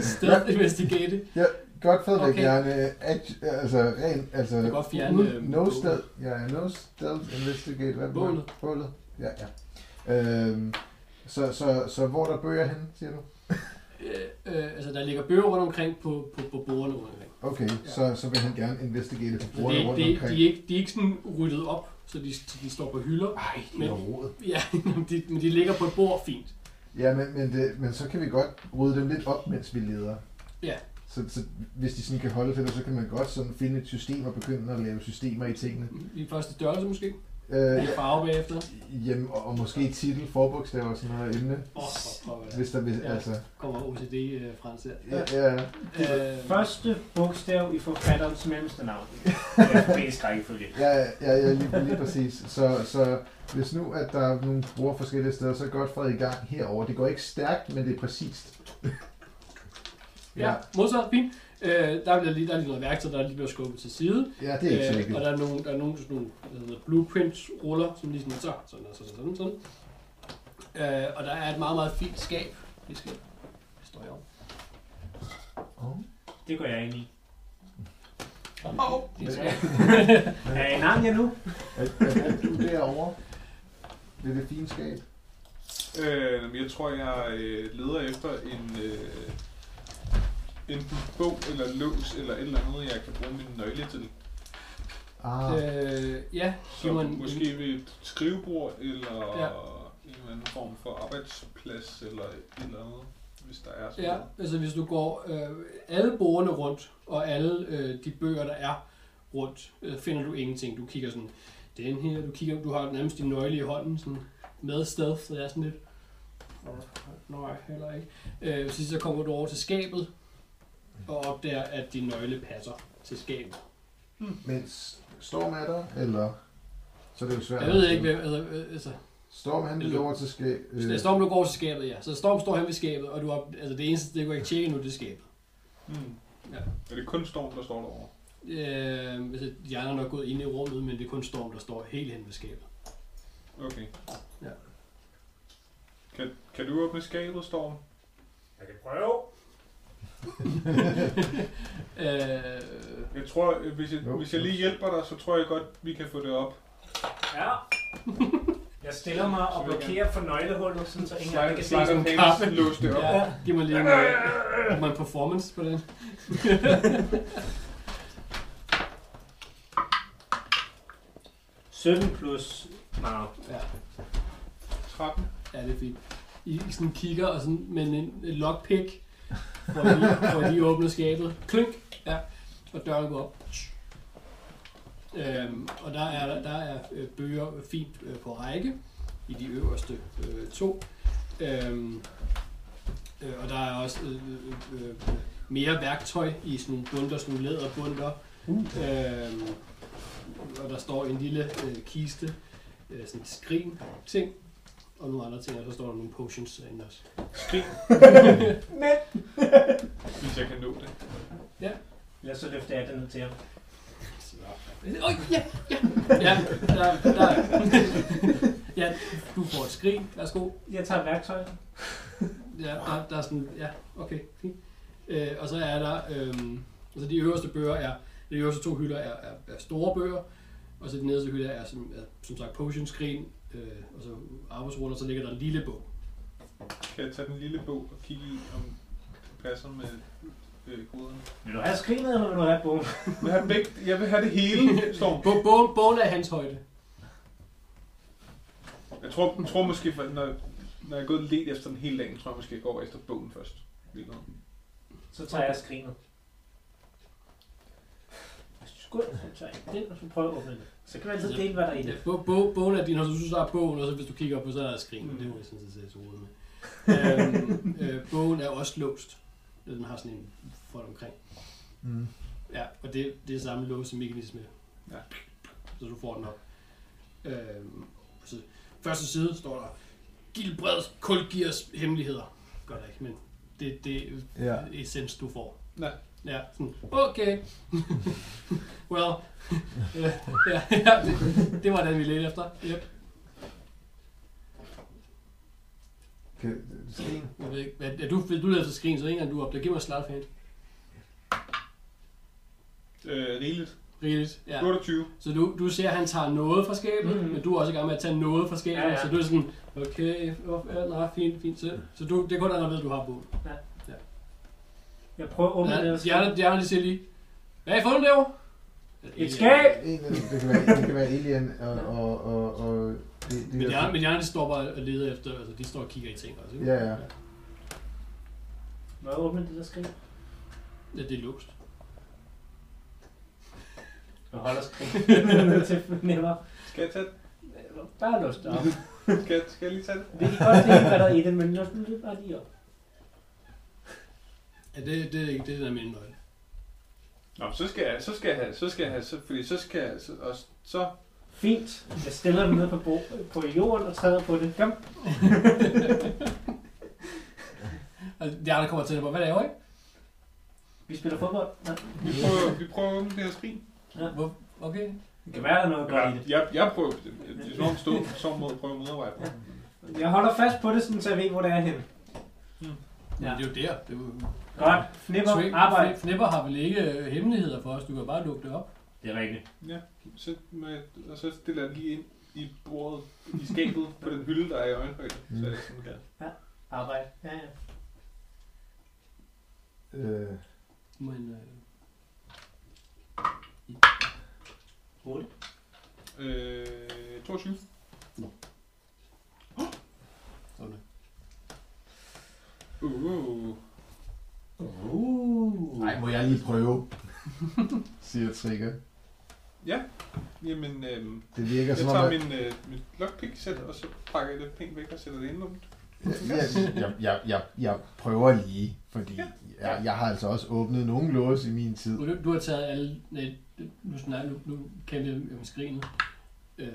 Speaker 5: Stealth investigate.
Speaker 2: Godt fed, okay.
Speaker 5: Okay.
Speaker 2: gerne act, altså ren, altså...
Speaker 5: Jeg kan godt fjerne,
Speaker 2: uden-
Speaker 5: øhm,
Speaker 2: no
Speaker 5: bålet.
Speaker 2: stealth, ja, no stealth investigate, hvad blev
Speaker 5: Bålet.
Speaker 2: det? Bålet. Ja, ja. Øhm, så, så, så hvor er der bøger henne, siger du?
Speaker 5: Øh, øh, altså der ligger bøger rundt omkring på, på, på bordene rundt omkring.
Speaker 2: Okay, ja.
Speaker 5: Ja.
Speaker 2: så, så vil han gerne investigere på
Speaker 5: Så det,
Speaker 2: brugerne
Speaker 5: er
Speaker 2: rundt
Speaker 5: ikke- det,
Speaker 2: omkring.
Speaker 5: de, er ikke, de er ikke sådan ryddet op, så de, de står på hylder.
Speaker 2: Ej, det
Speaker 5: Men-
Speaker 2: er rodet.
Speaker 5: Ja, men de, men de ligger på et bord fint.
Speaker 2: Ja, men, men, det, men så kan vi godt rydde dem lidt op, mens vi leder.
Speaker 5: Ja.
Speaker 2: Så, så hvis de sådan kan holde til det, så kan man godt sådan finde et system og begynde at lave systemer i tingene.
Speaker 5: I første størrelse måske.
Speaker 2: Øh,
Speaker 5: I farve bagefter.
Speaker 2: jamen, og, og måske titel, forbogstaver og sådan noget emne.
Speaker 5: Åh, oh, prøv at
Speaker 2: Hvis der hvis, ja.
Speaker 5: Ja.
Speaker 2: altså...
Speaker 5: kommer OCD øh, frem til.
Speaker 2: Ja, ja.
Speaker 5: Øh,
Speaker 4: Første bogstav i forfatterens mellemste navn. Det er alfabetisk rækkefølge.
Speaker 2: Ja, ja, ja lige, lige præcis. Så, så hvis nu, at der er nogle brugere forskellige steder, så er Godfred i gang herover. Det går ikke stærkt, men det er præcist.
Speaker 5: ja, modsat, fint. Øh, der, bliver lige, der er lige noget værktøj, der er lige blevet skubbet til side. Øh,
Speaker 2: Ja, det er ikke så vigtigt.
Speaker 5: og der er nogle, der er nogle, sådan nogle hvad hedder, det, blueprints-ruller, som lige sådan, så, sådan, og sådan, sådan, sådan. Øh, og der er et meget, meget fint skab. Det skal det står jeg om.
Speaker 2: Oh.
Speaker 4: Det går jeg ind i.
Speaker 5: Åh! Det er et skab.
Speaker 4: Er I Narnia nu?
Speaker 2: Er, er, er du derovre? Ved det fine skab?
Speaker 6: Øh, jamen, jeg tror, jeg øh, leder efter en øh, enten bog eller lås eller et eller andet, jeg kan bruge min nøgle til.
Speaker 2: Ah,
Speaker 5: Øh, ja,
Speaker 6: Så
Speaker 5: giv mig en,
Speaker 6: måske ved et skrivebord eller
Speaker 5: Ja.
Speaker 6: ja. en eller anden form for arbejdsplads eller et eller andet, hvis der er sådan
Speaker 5: Ja,
Speaker 6: noget.
Speaker 5: altså hvis du går øh, alle bordene rundt, og alle øh, de bøger, der er rundt, øh, finder du ingenting. Du kigger sådan, den her, du kigger, du har nærmest din nøgle i hånden, sådan med stealth, så det er sådan lidt, "Åh, nej, heller ikke. Øh, så, så kommer du over til skabet, og opdager, at din nøgle passer til skabet.
Speaker 2: men S- Storm er der, eller? Så er det jo svært.
Speaker 5: Jeg ved ikke, hvem, altså, øh, altså
Speaker 2: Storm han vil over til øh, skab.
Speaker 5: hvis det er Storm, du går til skabet, ja. Så Storm står hen ved skabet, og du har, altså det eneste, det går ikke tjekke nu, det er skabet.
Speaker 6: Hmm.
Speaker 5: Ja.
Speaker 6: Ja. Er det kun Storm, der står derovre?
Speaker 5: Øh, altså, de andre er nok gået ind i rummet, men det er kun Storm, der står helt hen ved skabet.
Speaker 6: Okay.
Speaker 5: Ja.
Speaker 6: Kan, kan du åbne skabet, Storm?
Speaker 4: Jeg kan prøve.
Speaker 5: Øh,
Speaker 6: Jeg tror, øh, hvis jeg,
Speaker 2: Jo.
Speaker 6: hvis jeg lige hjælper dig, så tror jeg godt, vi kan få det op.
Speaker 4: Ja. Jeg stiller mig og blokerer for nøglehullet, sådan så ingen andre kan se.
Speaker 6: Slide of hands, lås det op.
Speaker 5: ja, giv mig lige en, øh, giv mig en performance på den.
Speaker 4: sådan. 17 plus meget.
Speaker 5: Ja,
Speaker 6: 13.
Speaker 5: ja det er fint. I sådan kigger og sådan, men en en lockpick, hvor de, hvor de åbner skabet. Klink, ja, og døren går op. Øhm, og der er, der er øh, bøger fint øh, på række i de øverste øh, to. Øhm, øh, og der er også øh, øh, øh, mere værktøj i sådan nogle bunter, sådan nogle læderbunter. Øhm, og der står en lille øh, kiste, øh, sådan et skrin ting, og nogle andre ting, og så står der nogle potions derinde også.
Speaker 6: Skrig. Men. Hvis jeg kan nå det.
Speaker 4: Lad så løfte jeg den ned til jer.
Speaker 5: Åh, oh, ja, ja, ja, der, der, ja, du får et skrin, værsgo.
Speaker 4: Jeg tager værktøjet.
Speaker 5: Ja, der, der er sådan, ja, okay, fint. Øh, og så er der, øhm, altså de øverste bøger er, de øverste to hylder er, er, er store bøger, og så de nederste hylder er som, er, som sagt potion screen, øh, og så arbejdsruller, så ligger der en lille bog.
Speaker 6: Kan jeg tage den lille bog og kigge i, om det passer med øh, koderne?
Speaker 4: Vil du have skrinet, eller vil du have bogen?
Speaker 6: Jeg vil have, begge, jeg vil have det hele, Storm.
Speaker 5: Bo- Bogen, bogen er i hans højde.
Speaker 6: Jeg tror, jeg tror måske, for, når, når jeg er gået og let efter den hele dagen, tror jeg måske, jeg går efter bogen først. Lige nu.
Speaker 4: Så tager jeg skrinet. Skud, så tager jeg den, og så prøver jeg at åbne den. Så kan man altid dele, hvad der er i
Speaker 5: Ja,
Speaker 4: det.
Speaker 5: bo, bo, bogen er din, og så synes du, der er bogen, og så hvis du kigger op på, så er der skrin. Mm. Det må jeg sådan set så med. øhm, øh, bogen er også låst. Den har sådan en fold omkring.
Speaker 2: Mm.
Speaker 5: Ja, og det, det er samme låsemekanisme.
Speaker 6: Ja.
Speaker 5: Så du får den op. Øhm, så første side står der, Gilbreds Kulgiers hemmeligheder. Gør der ikke, men det, det er
Speaker 2: Ja.
Speaker 5: essens, du får.
Speaker 6: Nej.
Speaker 5: Ja, sådan, okay. well, øh, ja, ja, det, det var den, vi ledte efter. Yep.
Speaker 2: Kan, sten.
Speaker 5: Jeg ved ikke, hvad, er du, hvis du leder til skrin, så ikke engang du op. Der giver mig slart hand.
Speaker 6: Øh, rigeligt.
Speaker 5: Rigeligt, ja.
Speaker 6: 28.
Speaker 5: Så du, du ser, at han tager noget fra skabet,
Speaker 4: Mhm.
Speaker 5: mm-hmm. men du er også i gang med at tage noget fra skabet,
Speaker 4: Ja,
Speaker 5: ja,
Speaker 4: ja.
Speaker 5: ja. så du er sådan, okay, oh, ja, nej, fint, fint. Så, så du, det er kun andre ved, du har på.
Speaker 4: Jeg prøver at åbne
Speaker 5: Ja,
Speaker 4: ja,
Speaker 5: de
Speaker 4: den.
Speaker 5: andre, de andre de siger lige, hvad har I fundet derovre?
Speaker 4: Et skab!
Speaker 2: En af dem, det kan være, det kan være alien og, og, og, og det, det
Speaker 5: Men de,
Speaker 2: der-
Speaker 5: andre, men de andre, de står bare og leder efter, altså de står og kigger i ting også, ikke?
Speaker 2: Ja, ja.
Speaker 4: Må jeg åbne det der skrin?
Speaker 5: ja det er lukst.
Speaker 4: Jeg holder skrin. til fornemmer.
Speaker 6: Skal jeg tage det?
Speaker 4: Bare lås det op.
Speaker 6: Skal, jeg- skal jeg lige tage det?
Speaker 4: Vi kan godt lide, hvad der er i det, men lås nu det bare lige op.
Speaker 5: Ja, det, det er ikke det, der er min nøgle.
Speaker 6: Nå, så skal jeg, så skal jeg have, så skal jeg have, så, fordi så skal jeg, så, og, så,
Speaker 4: Fint. Jeg stiller dem ned på, bo, på jorden og træder på det. Kom.
Speaker 5: Og de andre kommer til dig bare, hvad laver I?
Speaker 4: Vi spiller fodbold. Nej.
Speaker 6: vi prøver, vi prøver at åbne det her skrin.
Speaker 5: Hvor, okay.
Speaker 4: Det kan være, der er noget godt i
Speaker 6: Jeg,
Speaker 4: det.
Speaker 6: jeg, jeg prøver, det det er som om stå som måde at prøve at modarbejde mig.
Speaker 4: Jeg holder fast på det, sådan, så jeg ved, hvor det er henne.
Speaker 5: Ja. Men det er jo der. Det er jo...
Speaker 4: Godt. Fnipper. Arbejde.
Speaker 5: Fnipper- Fnipper har vel ikke øh, hemmeligheder for os. Du kan bare lukke det op.
Speaker 4: Det er rigtigt.
Speaker 6: Ja, så, med, og så stiller jeg den lige ind i bordet, i skabet, på den hylde, der er i øjenhøjde.
Speaker 2: Mm.
Speaker 6: Så er det sådan der.
Speaker 4: Arbejde. Ja, ja.
Speaker 2: Øh,
Speaker 5: Men, øh,
Speaker 4: Hurtigt.
Speaker 6: Øh, 22.
Speaker 5: okay.
Speaker 6: Uh,
Speaker 4: Uh.
Speaker 2: nej, må jeg lige prøve, siger Trigger.
Speaker 6: ja, jamen, øh,
Speaker 2: Det virker
Speaker 6: jeg
Speaker 2: som om,
Speaker 6: tager
Speaker 2: at...
Speaker 6: min, øh, mit lockpick-sæt, og så pakker jeg det pænt væk og sætter det ind
Speaker 2: Jeg, jeg, jeg, jeg, jeg prøver lige, fordi jeg, jeg har altså også åbnet nogle låse i min tid.
Speaker 5: Og Du, du har taget alle... Nej, nu, snakker, nu, nu kan vi om skrinet. Øh,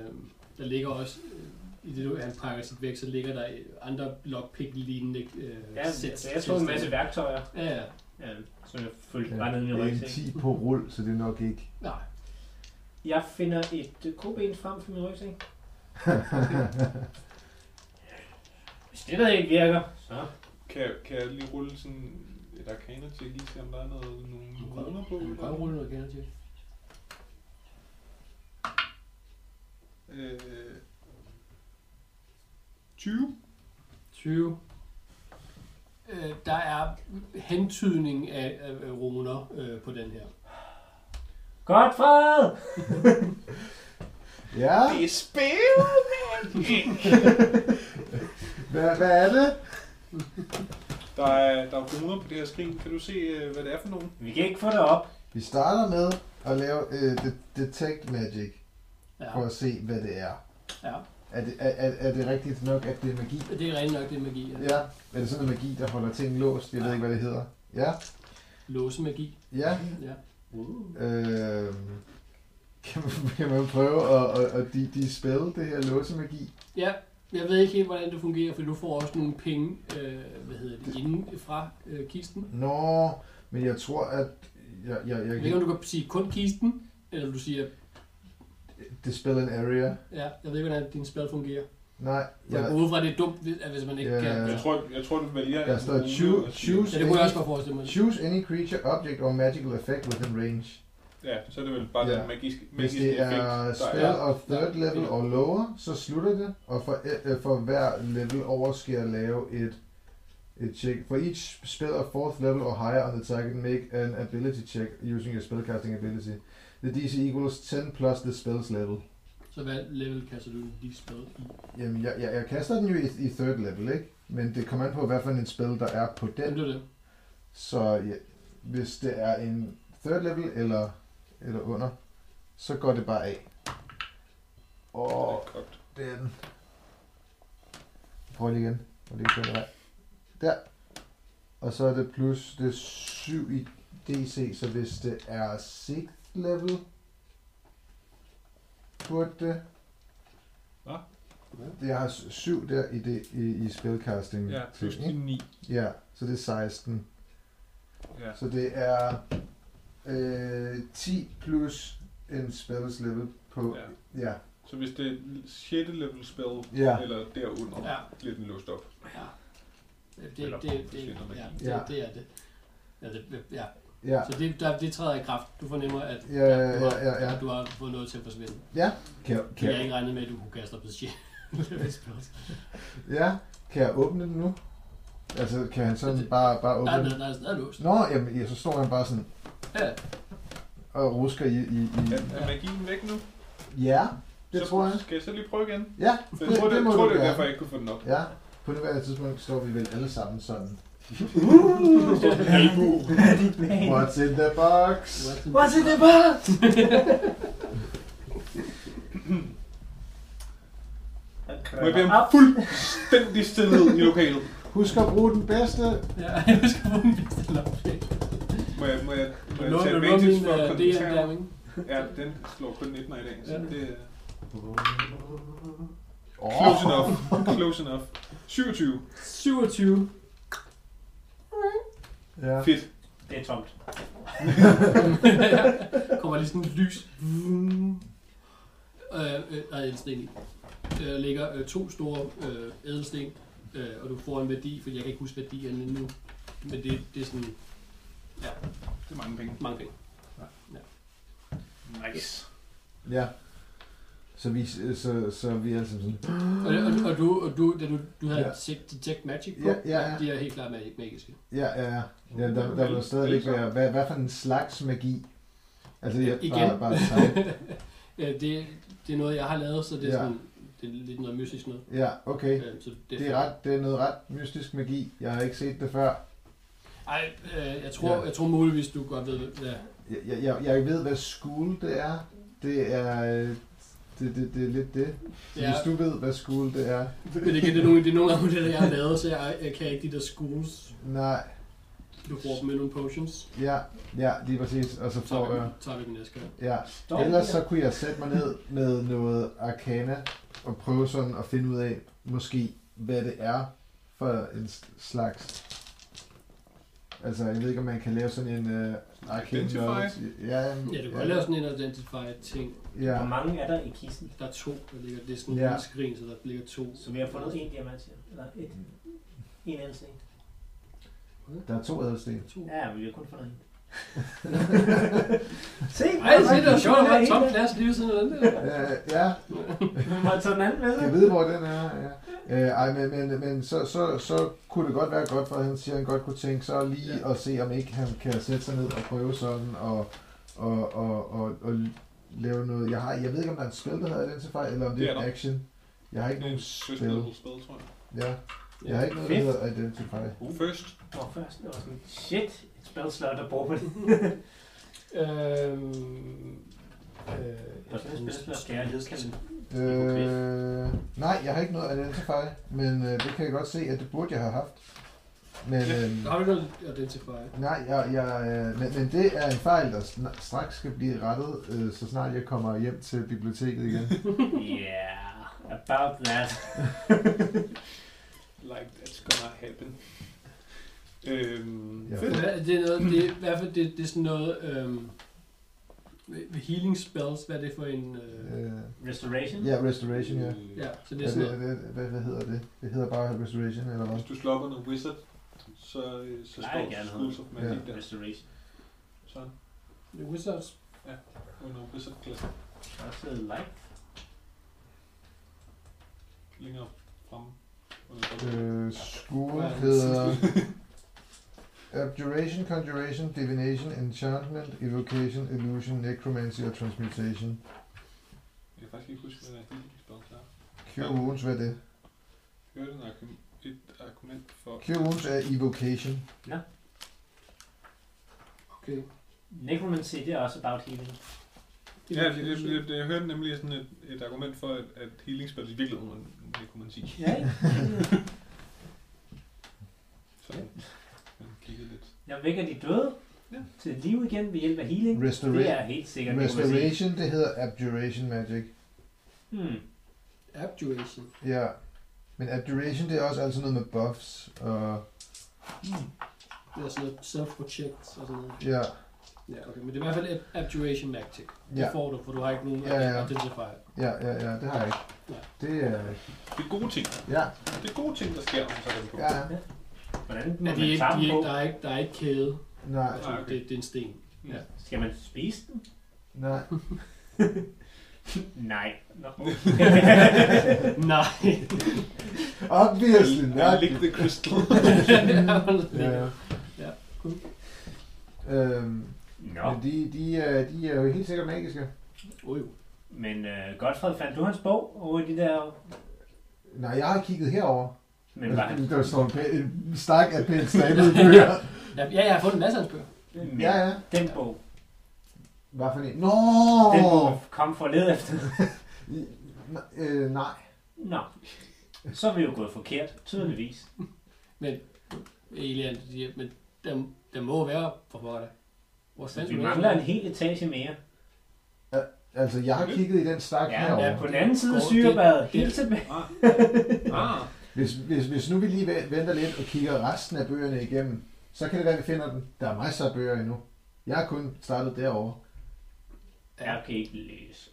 Speaker 5: der ligger også... Øh, I det, du- han pakker sit væk, så ligger der øh, andre lockpick-lignende øh,
Speaker 4: Ja,
Speaker 5: sæt.
Speaker 4: så jeg tog en masse værktøjer,
Speaker 5: Ja, ja.
Speaker 4: ja, som jeg følte bare ned i
Speaker 2: Det
Speaker 4: min
Speaker 2: er en
Speaker 4: rygsæk.
Speaker 2: 10 på rul, så det er nok ikke...
Speaker 5: Nej.
Speaker 4: Jeg finder et øh, koben frem for min rygsæk. Hvis det der ikke virker, så...
Speaker 6: Kan, jeg- kan jeg lige rulle sådan et arcana til lige se, om der er noget, nogle
Speaker 5: Du kan-
Speaker 6: ruller på?
Speaker 5: Du kan
Speaker 6: eller-
Speaker 5: godt rulle noget generativ.
Speaker 6: Øh, 20.
Speaker 5: 20. Øh, der er hentydning af, af, af runer øh, på den her.
Speaker 4: Godt fred!
Speaker 2: Ja,
Speaker 6: Det er spil,
Speaker 2: hvad, hvad er det?
Speaker 6: Der er, der er ruder på det her skrin. Kan du se, øh, hvad det er for nogen?
Speaker 4: Vi kan ikke få det op.
Speaker 2: Vi starter med at lave øh, de- Detect Magic,
Speaker 5: Ja,
Speaker 2: for at se, hvad det er.
Speaker 5: ja.
Speaker 2: Er det, er, er, er det rigtigt nok, at det er magi?
Speaker 5: Det er rent nok det er magi. Ja.
Speaker 2: Ja, er det sådan en magi, der holder ting låst? Jeg ved ikke, hvad det hedder. Ja,
Speaker 5: Låse magi.
Speaker 2: ja.
Speaker 5: Ja.
Speaker 2: Øh, kan, man, kan man prøve at, at, at de, de spille det her låsemagi?
Speaker 5: ja, jeg ved ikke helt, hvordan det fungerer, for du får også nogle penge, øh, hvad hedder det, inden fra øh, kisten.
Speaker 2: Nå, men jeg tror, at... Jeg, jeg,
Speaker 5: Jeg
Speaker 2: jeg,
Speaker 5: ved ikke, om
Speaker 2: jeg
Speaker 5: du kan sige kun kisten, eller du siger,
Speaker 2: det spiller en area.
Speaker 5: ja, jeg ved ikke, hvordan din spil fungerer.
Speaker 2: Nej,
Speaker 5: Jeg
Speaker 2: jeg,
Speaker 5: går ud fra, at det er dumt, hvis- at hvis man ikke
Speaker 2: Ja.
Speaker 5: kan.
Speaker 6: Jeg tror, jeg tror, du vælger...
Speaker 2: Der
Speaker 6: en
Speaker 2: står
Speaker 6: rune og
Speaker 2: choose-
Speaker 6: siger-
Speaker 5: Ja, det kunne jeg også godt forestille mig.
Speaker 2: choose any creature, object or magical effect within range.
Speaker 6: Ja, så er det vel bare
Speaker 2: Ja.
Speaker 6: den magiske,
Speaker 2: Hvis
Speaker 6: magiske
Speaker 2: det er
Speaker 6: effekt,
Speaker 2: spell of third level or lower, så slutter det, og for, øh, for hver level over skal jeg lave et, et check. For each spell of fourth level or higher on the target, make an ability check using your spellcasting ability. The DC equals 10 plus the spell's level.
Speaker 5: Så hvad level kaster du lige spil i?
Speaker 2: Jamen, jeg, jeg, jeg kaster den jo i, i third level, ikke? Men det kommer an på, hvad for en spell der er på
Speaker 5: Jamen,
Speaker 2: den.
Speaker 5: det er det.
Speaker 2: Så ja, hvis det er en third level eller, eller under, så går det bare af. Og
Speaker 6: Og... Kogt.
Speaker 2: Det er den. Prøv lige igen. Og lige på det her. Der. Og så er det plus det er 7 i DC, så hvis det er 6 level, burde det...
Speaker 6: Hva?
Speaker 2: Det jeg har 7 der i, det, i, i spellcasting.
Speaker 6: Ja, plus
Speaker 2: ting, ikke?
Speaker 6: din 9.
Speaker 2: ja, så det er 16.
Speaker 6: Ja.
Speaker 2: Så det er øh, 10 plus en spells level på...
Speaker 6: ja.
Speaker 2: Ja.
Speaker 6: Så hvis det er 6. level spell,
Speaker 2: Ja.
Speaker 6: eller derunder,
Speaker 5: Ja.
Speaker 6: bliver den låst op.
Speaker 5: Ja. Øh, Det, det,
Speaker 6: Eller
Speaker 5: det, det, det,
Speaker 6: forsvinder
Speaker 5: ja,
Speaker 6: væk.
Speaker 5: det,
Speaker 2: Ja.
Speaker 5: det er det. Ja, det, ja.
Speaker 2: Ja.
Speaker 5: Så det, der, det træder i kraft. Du fornemmer, at
Speaker 2: Ja, ja,
Speaker 5: du, har,
Speaker 2: ja, ja, ja.
Speaker 5: at du har fået noget til at forsvinde.
Speaker 2: Kan,
Speaker 5: Kan
Speaker 2: kan,
Speaker 5: jeg ikke regne med, at du kunne kaste op på shit.
Speaker 2: ja. Kan jeg åbne den nu? Altså, kan han sådan
Speaker 5: Det-
Speaker 2: bare, bare
Speaker 5: Nej,
Speaker 2: åbne
Speaker 5: nej,
Speaker 2: den?
Speaker 5: nej, der er låst.
Speaker 2: Nå, jamen, ja, så står han bare sådan
Speaker 5: Ja,
Speaker 2: og rusker i... i, i.
Speaker 6: Er, er magien væk nu?
Speaker 2: Ja, det
Speaker 6: så,
Speaker 2: tror jeg.
Speaker 6: Skal jeg så lige prøve igen?
Speaker 2: Ja,
Speaker 6: Jeg tror, det,
Speaker 2: må
Speaker 6: tror,
Speaker 2: du
Speaker 6: det er
Speaker 2: gerne.
Speaker 6: derfor, jeg ikke kunne få den op.
Speaker 2: Ja, på nuværende tidspunkt står vi vel alle sammen sådan. What's in the box?
Speaker 4: What's in the box?
Speaker 6: Må jeg bede om fuldstændig stillhed i lokalet?
Speaker 2: Husk at bruge den bedste.
Speaker 5: ja, jeg skal få en bedste lov.
Speaker 6: Må jeg, må jeg, må jeg
Speaker 5: Nå,
Speaker 6: tage
Speaker 5: nu er
Speaker 6: advantage
Speaker 5: min
Speaker 6: for at
Speaker 5: øh, DM
Speaker 6: koncentrere
Speaker 5: der,
Speaker 6: mig?
Speaker 5: ikke?
Speaker 6: Ja, den slår kun 19 i dag, så
Speaker 5: Ja.
Speaker 6: det er
Speaker 2: Åh,
Speaker 6: close enough. Close enough. 27.
Speaker 5: 27.
Speaker 2: ja.
Speaker 6: Fedt.
Speaker 4: Det er tomt.
Speaker 5: Kommer lige sådan et lys. Øh, øh, der er ædelsten i. Øh, Der ligger øh, to store øh, ædelsten, øh, og du får en værdi, for jeg kan ikke huske værdierne nu. Men det, det er sådan
Speaker 6: Det er mange penge.
Speaker 5: mange penge.
Speaker 6: Nice.
Speaker 2: ja. Så vi, så, så vi er altså sådan...
Speaker 5: Og, det- og, og, du, og du, da du, du havde
Speaker 2: Ja.
Speaker 5: ja. Detect Magic på,
Speaker 2: Ja, ja, ja.
Speaker 5: de er helt klart mag- magiske.
Speaker 2: Ja, ja, ja. ja der, der vil stadigvæk være... Hvad, hvad for en slags magi? Altså, jeg
Speaker 5: Igen.
Speaker 2: bare, bare tegn.
Speaker 5: Øh, det, det er noget, jeg har lavet, så det er,
Speaker 2: Ja.
Speaker 5: sådan, det er lidt noget mystisk noget.
Speaker 2: Ja, okay.
Speaker 5: Øh, så
Speaker 2: Det er, ret, det er noget ret mystisk magi. Jeg har ikke set det før.
Speaker 5: Ej, øh, jeg, tror,
Speaker 2: Ja.
Speaker 5: jeg tror muligvis, du godt ved, hvad
Speaker 2: Jeg, jeg- jeg, jeg ved, hvad school det er. Det er... øh, Det, det, det er lidt det. Så
Speaker 5: det
Speaker 2: hvis
Speaker 5: er.
Speaker 2: du ved, hvad school det er...
Speaker 5: Men igen, det er nogle, det er nogle af modeller, jeg har lavet, så jeg, jeg kan ikke de der schools.
Speaker 2: Nej,
Speaker 5: Du bruger dem med nogle potions.
Speaker 2: ja, ja, lige præcis. Og så
Speaker 5: Så tager
Speaker 2: får
Speaker 5: vi,
Speaker 2: jeg...
Speaker 5: tager vi den næste gang.
Speaker 2: Ja,
Speaker 4: Stop.
Speaker 2: Ellers så kunne jeg sætte mig ned med noget arcana og prøve sådan at finde ud af, måske, hvad det er for en s- slags... Altså, jeg ved ikke, om man kan lave sådan en uh, arcane
Speaker 6: Identify.
Speaker 2: knowledge. Mm. Ja, jamen,
Speaker 5: Ja, du kan godt lave sådan en identify ting.
Speaker 2: Ja,
Speaker 4: Hvor mange er der i kisten?
Speaker 5: Der er to, der ligger. Det er sådan
Speaker 2: Ja.
Speaker 5: en skrin, så der ligger to.
Speaker 4: Så vi har fundet en Mm. diamant til. Eller et. En anden ting.
Speaker 2: der er to ædelsten.
Speaker 5: To.
Speaker 4: Ja, men vi har kun fundet en. se,
Speaker 5: Ej, se, det var
Speaker 4: er
Speaker 5: sjovt, at have
Speaker 4: en
Speaker 5: et tomt
Speaker 4: der.
Speaker 5: glas lige ved siden af den der.
Speaker 2: Uh, ja,
Speaker 4: Må jeg tage den anden med
Speaker 2: jeg
Speaker 4: sig?
Speaker 2: ved, hvor den er. Ja. Øh, ej, men, men, men så, så, så kunne det godt være godt, for han siger, at han godt kunne tænke sig lige
Speaker 5: Ja.
Speaker 2: ja. at se, om ikke han kan sætte sig ned og prøve sådan og, og, og, og, og lave noget. Jeg, har, jeg ved ikke, om der er en spil, der hedder Identify, eller om det er
Speaker 6: Det er
Speaker 2: en
Speaker 6: der.
Speaker 2: action. Jeg har ikke
Speaker 6: Det er
Speaker 2: nogen
Speaker 6: en
Speaker 2: spil.
Speaker 6: søsnedel spil, tror jeg.
Speaker 2: Ja, jeg har ikke noget, der
Speaker 4: Fedt.
Speaker 2: hedder Identify.
Speaker 6: First.
Speaker 4: Nå, først det var sådan, shit, et spilslot der bruger på det.
Speaker 5: Øhm, øh,
Speaker 4: Der er sådan et spilslot, der er ledskaldet.
Speaker 2: Øh, nej, jeg har ikke noget Identify, men øh, det kan jeg godt se, at det burde jeg have haft. Men,
Speaker 6: Ja,
Speaker 2: øh,
Speaker 5: Har du ikke noget identify?
Speaker 2: Nej, jeg, jeg, øh, men, men det er en fejl, der sn- straks skal blive rettet, øh, så snart jeg kommer hjem til biblioteket igen.
Speaker 4: Yeah, about that.
Speaker 6: Like that's gonna happen. Øhm,
Speaker 2: Ja.
Speaker 6: Fedt.
Speaker 5: Hvad- Det er, noget, det er i hvert fald det, det er sådan noget... Øhm, healing spells, hvad er det for en... Øh,
Speaker 2: øh,
Speaker 4: Restoration?
Speaker 2: ja, restoration, ja.
Speaker 5: ja, så
Speaker 2: Øh,
Speaker 5: det
Speaker 2: Hvad,
Speaker 5: er sådan
Speaker 2: hvad,
Speaker 5: noget.
Speaker 2: hvad, hvad, hvad hedder det? Det hedder bare restoration, eller hvad?
Speaker 6: Hvis du slår på noget wizard, så, øh, så
Speaker 4: Nej,
Speaker 6: står
Speaker 4: gerne.
Speaker 6: Schools of Magic der.
Speaker 4: Restoration.
Speaker 6: Så
Speaker 5: The Wizards.
Speaker 6: under wizard-klassen
Speaker 4: Også light.
Speaker 6: længere fremme. Under
Speaker 2: Øh, school hedder Abjuration, Conjuration, Divination, Enchantment, Evocation, Illusion, Necromancy og Transmutation.
Speaker 6: jeg kan faktisk ikke huske, hvad der er helt spil klar.
Speaker 2: Cure Wounds, hvad er det?
Speaker 6: Hørte en argument, et argument for...
Speaker 2: Cure Wounds er Evocation.
Speaker 5: Okay.
Speaker 4: Necromancy, det er også about healing.
Speaker 6: Ja, jeg, jeg, jeg, jeg hørte nemlig sådan et, et argument for, at, at healing spil i virkeligheden var det kunne man sige.
Speaker 4: Ja,
Speaker 6: Sådan. Man kiggede lidt.
Speaker 4: Jeg vækker de døde
Speaker 6: Ja.
Speaker 4: til liv igen ved hjælp af healing. Det
Speaker 2: Restora-
Speaker 4: er helt sikkert necromancy.
Speaker 2: restoration, det hedder Abjuration Magic.
Speaker 4: Hmm.
Speaker 5: Abjuration.
Speaker 2: Ja, men abjuration, det er også altid noget med buffs og
Speaker 5: Det er sådan noget self-project og sådan noget.
Speaker 2: Ja,
Speaker 5: Ja, okay. Men det er i hvert fald ab- Abjuration Magtic. Det
Speaker 2: Ja.
Speaker 5: får du, for du har ikke nogen
Speaker 2: Ja, ja.
Speaker 5: identifier.
Speaker 2: ja, ja, ja, det har jeg ikke. Det er...
Speaker 6: Det er gode ting.
Speaker 2: Ja,
Speaker 6: Det er gode ting, der sker, når man tager dem på.
Speaker 2: ja,
Speaker 4: Hvordan må
Speaker 5: Ja,
Speaker 4: man
Speaker 5: de er ikke,
Speaker 4: tage
Speaker 5: de
Speaker 4: dem
Speaker 5: er
Speaker 4: på?
Speaker 5: ikke, der, er ikke, der er ikke kæde.
Speaker 2: nej,
Speaker 5: Jeg tror,
Speaker 6: Nej, okay.
Speaker 5: det, det, er en sten.
Speaker 4: Skal man spise den?
Speaker 2: nej.
Speaker 4: Nej. Nå.
Speaker 5: Nej.
Speaker 2: Obviously,
Speaker 6: Jeg
Speaker 2: nej.
Speaker 6: lick the crystal.
Speaker 2: Ja, ja.
Speaker 5: Ja, cool.
Speaker 2: Øhm,
Speaker 4: Nå.
Speaker 2: men de, de, er, de er jo helt sikkert magiske.
Speaker 5: Oj,
Speaker 4: Men uh, Godfred, fandt du hans bog over de der...
Speaker 2: Nej, jeg har kigget herover. Altså,
Speaker 4: Men var han...
Speaker 2: Der står en, pæ- en stak af pænt stablede bøger.
Speaker 5: ja, ja, jeg har fundet en masse af hans bøger.
Speaker 4: Men
Speaker 2: Ja, ja.
Speaker 4: Den bog,
Speaker 2: Hvad for en? Nå!
Speaker 4: den bog kom for at lede efter.
Speaker 2: I- n- øh, nej.
Speaker 4: Nå. Så er vi jo gået forkert,
Speaker 5: Mm.
Speaker 4: tydeligvis.
Speaker 5: Elian, de, men der, der må være for pokker da. Vores
Speaker 4: Så
Speaker 5: fans
Speaker 4: vi mangler en hel etage mere.
Speaker 2: Altså, jeg har kigget i den stak
Speaker 4: Ja,
Speaker 2: herover.
Speaker 4: ja på den anden side af
Speaker 5: Går
Speaker 4: syrebadet.
Speaker 5: det-
Speaker 4: Helt tilbage.
Speaker 6: ah,
Speaker 2: Hvis, hvis, hvis nu vi lige væ- venter lidt og kigger resten af bøgerne igennem, så kan det være, at vi finder den. Der er masser af bøger endnu. Jeg har kun startet derovre.
Speaker 4: Jeg kan ikke læse.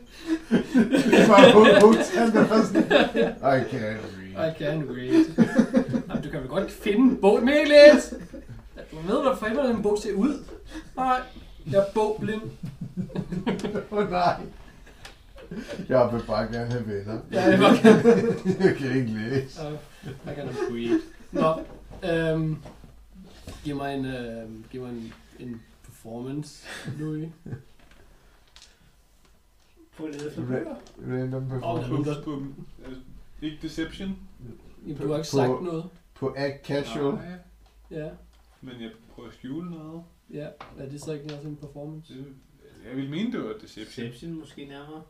Speaker 2: Det var hooked. Han var først I can't read.
Speaker 5: I can read. Jamen, du kan vel godt finde en bog. Men ikke læs! Du ved, hvad fanden den bog ser ud. Nej, jeg er bogblind.
Speaker 2: Åh oh, nej. Jeg vil bare gerne have venner.
Speaker 5: Ja, det var
Speaker 2: Jeg kan ikke læse.
Speaker 5: Uh, I kan read. Nå, øhm, giv mig en, øhm, giv mig en, en performance, Louis.
Speaker 4: På at lede efter
Speaker 2: Ra-
Speaker 4: bøger.
Speaker 2: Random
Speaker 5: Åh,
Speaker 2: performance.
Speaker 5: men
Speaker 6: bum,
Speaker 5: der-
Speaker 6: bum. Øh, Ikke deception.
Speaker 5: Jamen, du har ikke sagt noget.
Speaker 2: På Act Casual.
Speaker 6: Nej,
Speaker 5: Ja,
Speaker 6: men jeg prøver at skjule noget.
Speaker 5: ja. Er det så ikke også en performance?
Speaker 6: Det- Jeg vil mene, det var deception.
Speaker 4: Deception måske nærmere.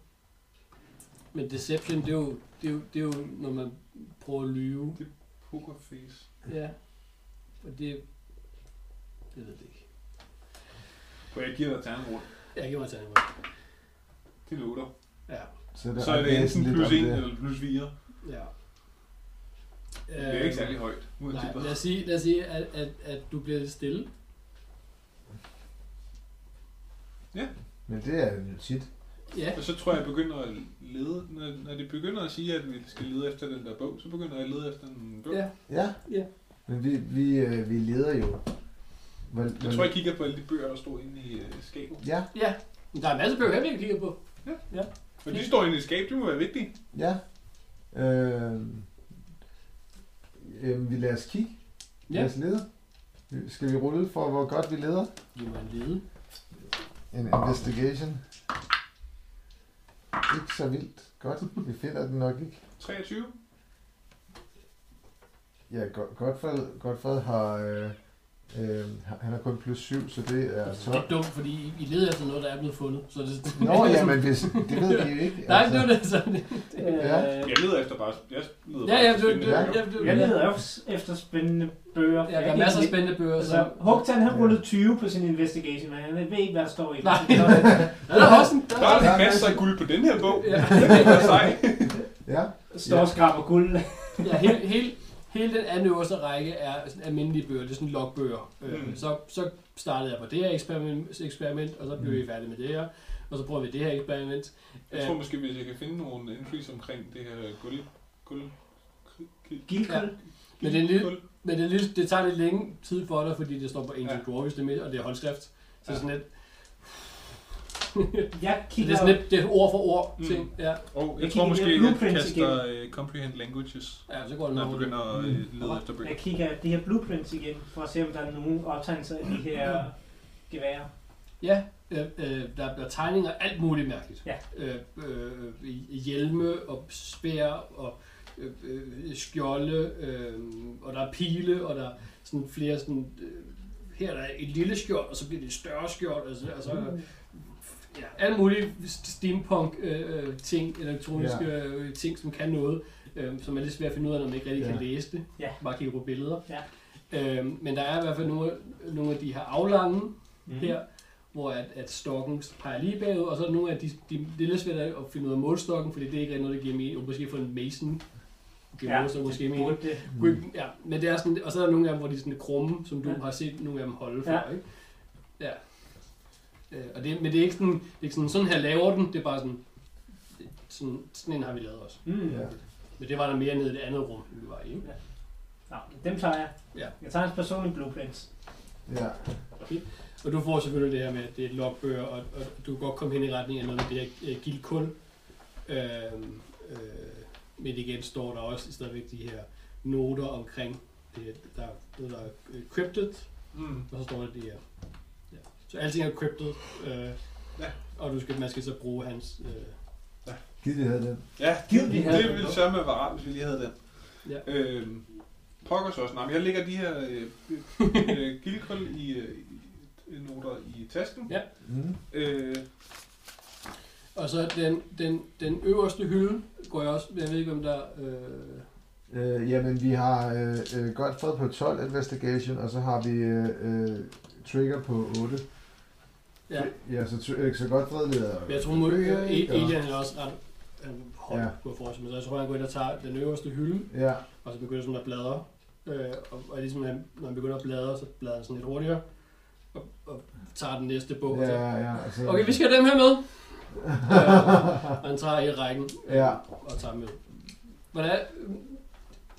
Speaker 5: Men deception, det er jo, det er jo, det er jo når man prøver at lyve.
Speaker 6: Poker face.
Speaker 5: Ja. Og det... Det ved jeg ikke.
Speaker 6: For jeg giver dig ternebrud.
Speaker 5: Jeg giver mig til animal.
Speaker 6: Det låter.
Speaker 5: Ja.
Speaker 2: der
Speaker 6: Så er det
Speaker 2: jeg læser lidt
Speaker 6: enten plus
Speaker 2: om
Speaker 6: 1
Speaker 2: det.
Speaker 6: eller plus 4.
Speaker 5: Ja. Øh,
Speaker 6: Det er
Speaker 2: Øh,
Speaker 6: ikke særlig højt.
Speaker 5: Nej,
Speaker 6: uanset hvad.
Speaker 5: lad os sige, lad os sige at, at, at du bliver lidt stille.
Speaker 2: Men det er jo tit.
Speaker 5: Ja.
Speaker 6: Og så tror jeg, jeg begynder at lede. Når, når de begynder at sige, at vi skal lede efter den der bog, så begynder jeg at lede efter en bog.
Speaker 5: Ja.
Speaker 2: Ja.
Speaker 5: Ja.
Speaker 2: Men vi, vi, øh, vi leder jo. Hvor,
Speaker 6: Jeg tror, jeg kigger på alle de bøger, der stod inde i øh, skabet.
Speaker 2: Ja,
Speaker 5: Ja. Men Der er en masse bøger, her, vi kan kigge på.
Speaker 6: Og de står inde i skabet, det må være vigtigt.
Speaker 2: ja. Øh, øh, vi lader os kigge. Ja. Lad
Speaker 5: Ja.
Speaker 2: os lede. Skal vi rulle for, hvor godt vi leder?
Speaker 5: Giv mig en lede.
Speaker 2: En investigation. Ikke så vildt. Godt. Vi finder den nok ikke.
Speaker 6: 23.
Speaker 2: Ja, Go- Godfred, Godfred har... Øh, øh, han har kun plus 7, så det er
Speaker 5: Det er
Speaker 2: 12.
Speaker 5: dumt, fordi I- I leder efter noget, der er blevet fundet. Så det,
Speaker 2: Nå, jamen, hvis, det ved vi jo ikke. altså.
Speaker 5: Nej, det er det sådan.
Speaker 2: Ja.
Speaker 4: Øh,
Speaker 6: Jeg leder efter bare... Jeg leder
Speaker 5: Ja,
Speaker 6: bare
Speaker 5: ja,
Speaker 6: efter
Speaker 5: du, du,
Speaker 6: spændende
Speaker 5: ja,
Speaker 6: bøger.
Speaker 5: du,
Speaker 4: Jeg leder også efter spændende bøger.
Speaker 5: Ja, der er masser af spændende bøger. Så.
Speaker 4: Altså, Hugtan han rullede 20 på sin investigation, men han ved ikke, hvad der står i den.
Speaker 5: Nej, Ja, der er også en... Der
Speaker 6: Der
Speaker 5: er,
Speaker 6: er masser af guld på den her bog.
Speaker 5: ja,
Speaker 6: Det er sej.
Speaker 2: Ja,
Speaker 4: Står og skraber guld.
Speaker 5: ja hele, hele, hele den anden øverste række er sådan almindelige bøger. Det er sådan logbøger. Mm.
Speaker 6: Mm.
Speaker 5: Så, så startede jeg på det her eksperiment, eksperiment og så blev
Speaker 2: Mm.
Speaker 5: vi færdige med det her. Og så prøver vi det her eksperiment. Øh,
Speaker 6: Jeg tror måske, hvis jeg kan finde nogle entries omkring det her guld... Guld...
Speaker 4: Gildkul.
Speaker 5: Men det er en lille- Men det, er lidt, det tager lidt længe tid for dig, fordi det står på Ancient
Speaker 6: Ja.
Speaker 5: ja. Dwarves, det med, og det er håndskrift. Så
Speaker 6: Ja.
Speaker 5: sådan lidt,
Speaker 4: Jeg
Speaker 5: så det er
Speaker 4: kigger
Speaker 5: sådan lidt det er ord for ord
Speaker 6: Mm.
Speaker 5: ting. Ja,
Speaker 6: Og
Speaker 4: Jeg
Speaker 6: jeg tror
Speaker 4: kigger
Speaker 6: måske,
Speaker 4: i
Speaker 6: at jeg
Speaker 4: blueprints
Speaker 6: kaster uh, Comprehend Languages,
Speaker 5: ja så går det
Speaker 6: når
Speaker 5: nok.
Speaker 6: jeg begynder at øh,
Speaker 5: mm.
Speaker 6: lede efter
Speaker 4: Jeg
Speaker 6: bøger.
Speaker 4: kigger de her blueprints igen, for at se, om der er nogen optegnelser i de her geværer.
Speaker 5: Ja, øh, øh, der bliver tegninger af alt muligt mærkeligt.
Speaker 4: Ja.
Speaker 5: Øh, øh, hjelme og spær og øh, øh, skjolde, øh, og der er pile, og der er sådan flere sådan... Øh, her er der et lille skjold, og så bliver det et større skjold, og så, og så øh, ja, alle mulige steampunk øh, øh, ting, elektroniske ja. ting, som kan noget, øh, som er lidt svært at finde ud af, når man ikke rigtig
Speaker 2: Ja.
Speaker 5: ja. kan læse det.
Speaker 4: Ja.
Speaker 5: Bare kigge på billeder.
Speaker 4: Ja.
Speaker 5: Øh, men der er i hvert fald nogle, nogle af de her aflange,
Speaker 4: Mm.
Speaker 5: her, hvor at, at stokken peger lige bagud, og så er der nogle af de, de, det er lidt svært at finde ud af målstokken, fordi det er ikke rigtig noget, der giver mening. Og måske for en mason, giver ja, målstokken måske mening.
Speaker 4: burde det.
Speaker 5: Mm. Ja, men det er sådan, og så er der nogle af dem, hvor de er sådan krumme, som du
Speaker 4: Ja.
Speaker 5: ja. har set nogle af dem holde for,
Speaker 4: Ja.
Speaker 5: ja. ikke? Ja. Øh, og det, men det er ikke sådan, det er ikke sådan, sådan her laver den, det er bare sådan, det- sådan, sådan en har vi lavet også.
Speaker 4: Mm.
Speaker 2: Ja.
Speaker 5: Men det var der mere nede i det andet rum, vi var i, ikke?
Speaker 4: Nå, dem tager jeg.
Speaker 5: Ja.
Speaker 4: Jeg tager hans personlige blueprints.
Speaker 2: Ja.
Speaker 5: Og du får selvfølgelig det her med, at det er et logbøger, og, og du kan godt komme hen i retning af noget med det her øh, gildkul. Øhm, øh, men igen står der også stadigvæk de her noter omkring, det, der er noget, der er øh, crypted,
Speaker 6: Mm.
Speaker 5: og så står der det her. Ja. Så alting er crypted, øh,
Speaker 6: Ja.
Speaker 5: og du skal, man skal så bruge hans... Øh,
Speaker 2: Gid vi havde den.
Speaker 6: Ja,
Speaker 4: Gid, vi havde
Speaker 6: det
Speaker 4: den
Speaker 6: ville
Speaker 4: på.
Speaker 6: sørge med at være rart, hvis vi lige havde den.
Speaker 5: Ja.
Speaker 6: Øhm, pokker så også. Nej, men jeg lægger de her øh, øh, gildkul i, øh, i noter i tasken.
Speaker 5: Ja.
Speaker 2: Mm.
Speaker 6: Øh,
Speaker 5: og så den, den, den øverste hylde går jeg også... Jeg ved ikke, om der... Øh,
Speaker 2: Øh, jamen, vi har øh, øh, godt fred på 12 investigation, og så har vi øh, øh, trigger på 8.
Speaker 5: ja.
Speaker 2: Ja, så, tr- øh, så godt fred leder.
Speaker 5: Men jeg tror, mod øh,
Speaker 2: Trigger, ikke? Og-
Speaker 5: Elian er også ret han høj
Speaker 2: Ja.
Speaker 5: ja. på forsiden, så jeg tror, han går ind og tager den øverste hylde,
Speaker 2: Ja,
Speaker 5: og så begynder sådan at bladre. Øh, og, og ligesom han, når han begynder at bladre, så bladrer han sådan lidt hurtigere, og, og tager den næste bog. og
Speaker 2: ja,
Speaker 5: så-
Speaker 2: ja. altså- og Så,
Speaker 5: Okay, vi skal have dem her med. øh, og han tager i rækken øh,
Speaker 2: Ja.
Speaker 5: og tager dem med. Hvordan?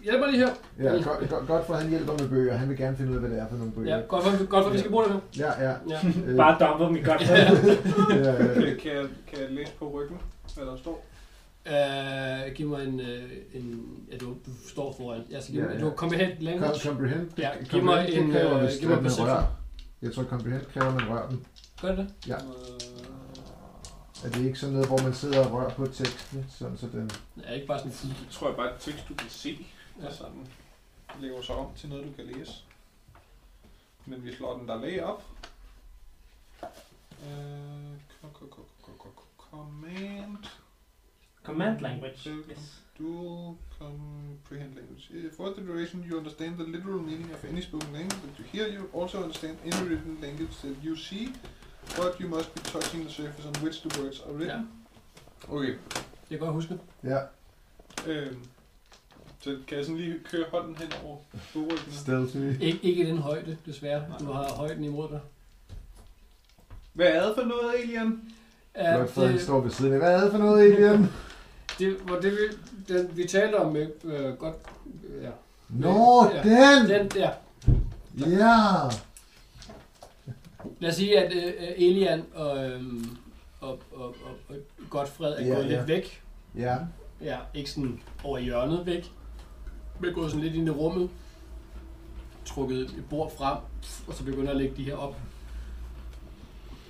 Speaker 5: Hjælp mig lige her.
Speaker 2: Ja, godt, godt, godt for, at han hjælper med bøger. Han vil gerne finde ud af, hvad det er for nogle bøger.
Speaker 5: Ja, godt for, godt for, at vi skal bruge det her.
Speaker 2: Ja, ja.
Speaker 5: Ja.
Speaker 2: Øh,
Speaker 4: Bare dumper dem i godt fred.
Speaker 2: ja, øh, ja.
Speaker 6: kan, kan, jeg, kan jeg læse på ryggen, hvad der står?
Speaker 5: Øh, giv mig en, øh, en... Ja, du, du står foran. Ja, så giv
Speaker 2: Ja,
Speaker 5: mig,
Speaker 2: ja.
Speaker 5: Du kommer helt
Speaker 2: Kom,
Speaker 5: langt.
Speaker 2: comprehend.
Speaker 5: Ja,
Speaker 2: Comprehend,
Speaker 5: giv mig
Speaker 2: det
Speaker 5: en,
Speaker 2: kræver,
Speaker 5: øh,
Speaker 2: hvis
Speaker 5: giv mig
Speaker 2: man
Speaker 5: perception.
Speaker 2: rører. Jeg tror, comprehend kræver, at man rører dem.
Speaker 5: Gør det det?
Speaker 2: Ja.
Speaker 6: Øh,
Speaker 2: Er det ikke sådan noget, hvor man sidder og rører på teksten, sådan så den...
Speaker 5: Er det ikke bare sådan...
Speaker 6: det tror jeg bare er et tekst, du kan se.
Speaker 5: Ja.
Speaker 6: Ja. Sådan. Det laver så om til noget, du kan læse. Men vi slår den der læge op. Øh, k- k- k- k- k- k- command.
Speaker 4: Command language.
Speaker 5: Mm.
Speaker 6: Welcome
Speaker 4: Yes.
Speaker 6: Dual comprehend language. Uh, For the duration, you understand the literal meaning of any spoken language that you hear. You also understand any written language that you see, but you must be touching the surface on which the words are written. Okay.
Speaker 5: Det kan jeg godt huske.
Speaker 2: Ja,
Speaker 6: Øhm, så kan jeg sådan lige køre hånden hen over bogryggen?
Speaker 2: stealthy.
Speaker 5: Ikke, ikke i den højde, desværre.
Speaker 6: Nej.
Speaker 5: Du har højden imod dig.
Speaker 6: Hvad er det for noget, Elian?
Speaker 5: Ja,
Speaker 2: Godt for, at han
Speaker 5: det,
Speaker 2: står ved siden af. Hvad er det for noget, Elian?
Speaker 5: det, hvor det, vi, den, vi talte om med øh, godt... Ja.
Speaker 2: Nå,
Speaker 5: Ja.
Speaker 2: den!
Speaker 5: Den der.
Speaker 2: Ja!
Speaker 5: Lad os sige, at øh, øh, Elian og, øh, og, og, og, og Godfred er
Speaker 2: Ja,
Speaker 5: gået
Speaker 2: ja.
Speaker 5: lidt væk.
Speaker 2: Ja,
Speaker 5: Ja, ikke sådan over hjørnet væk. Men gået sådan lidt ind i rummet. Trukket et bord frem, og så begynder at lægge de her op.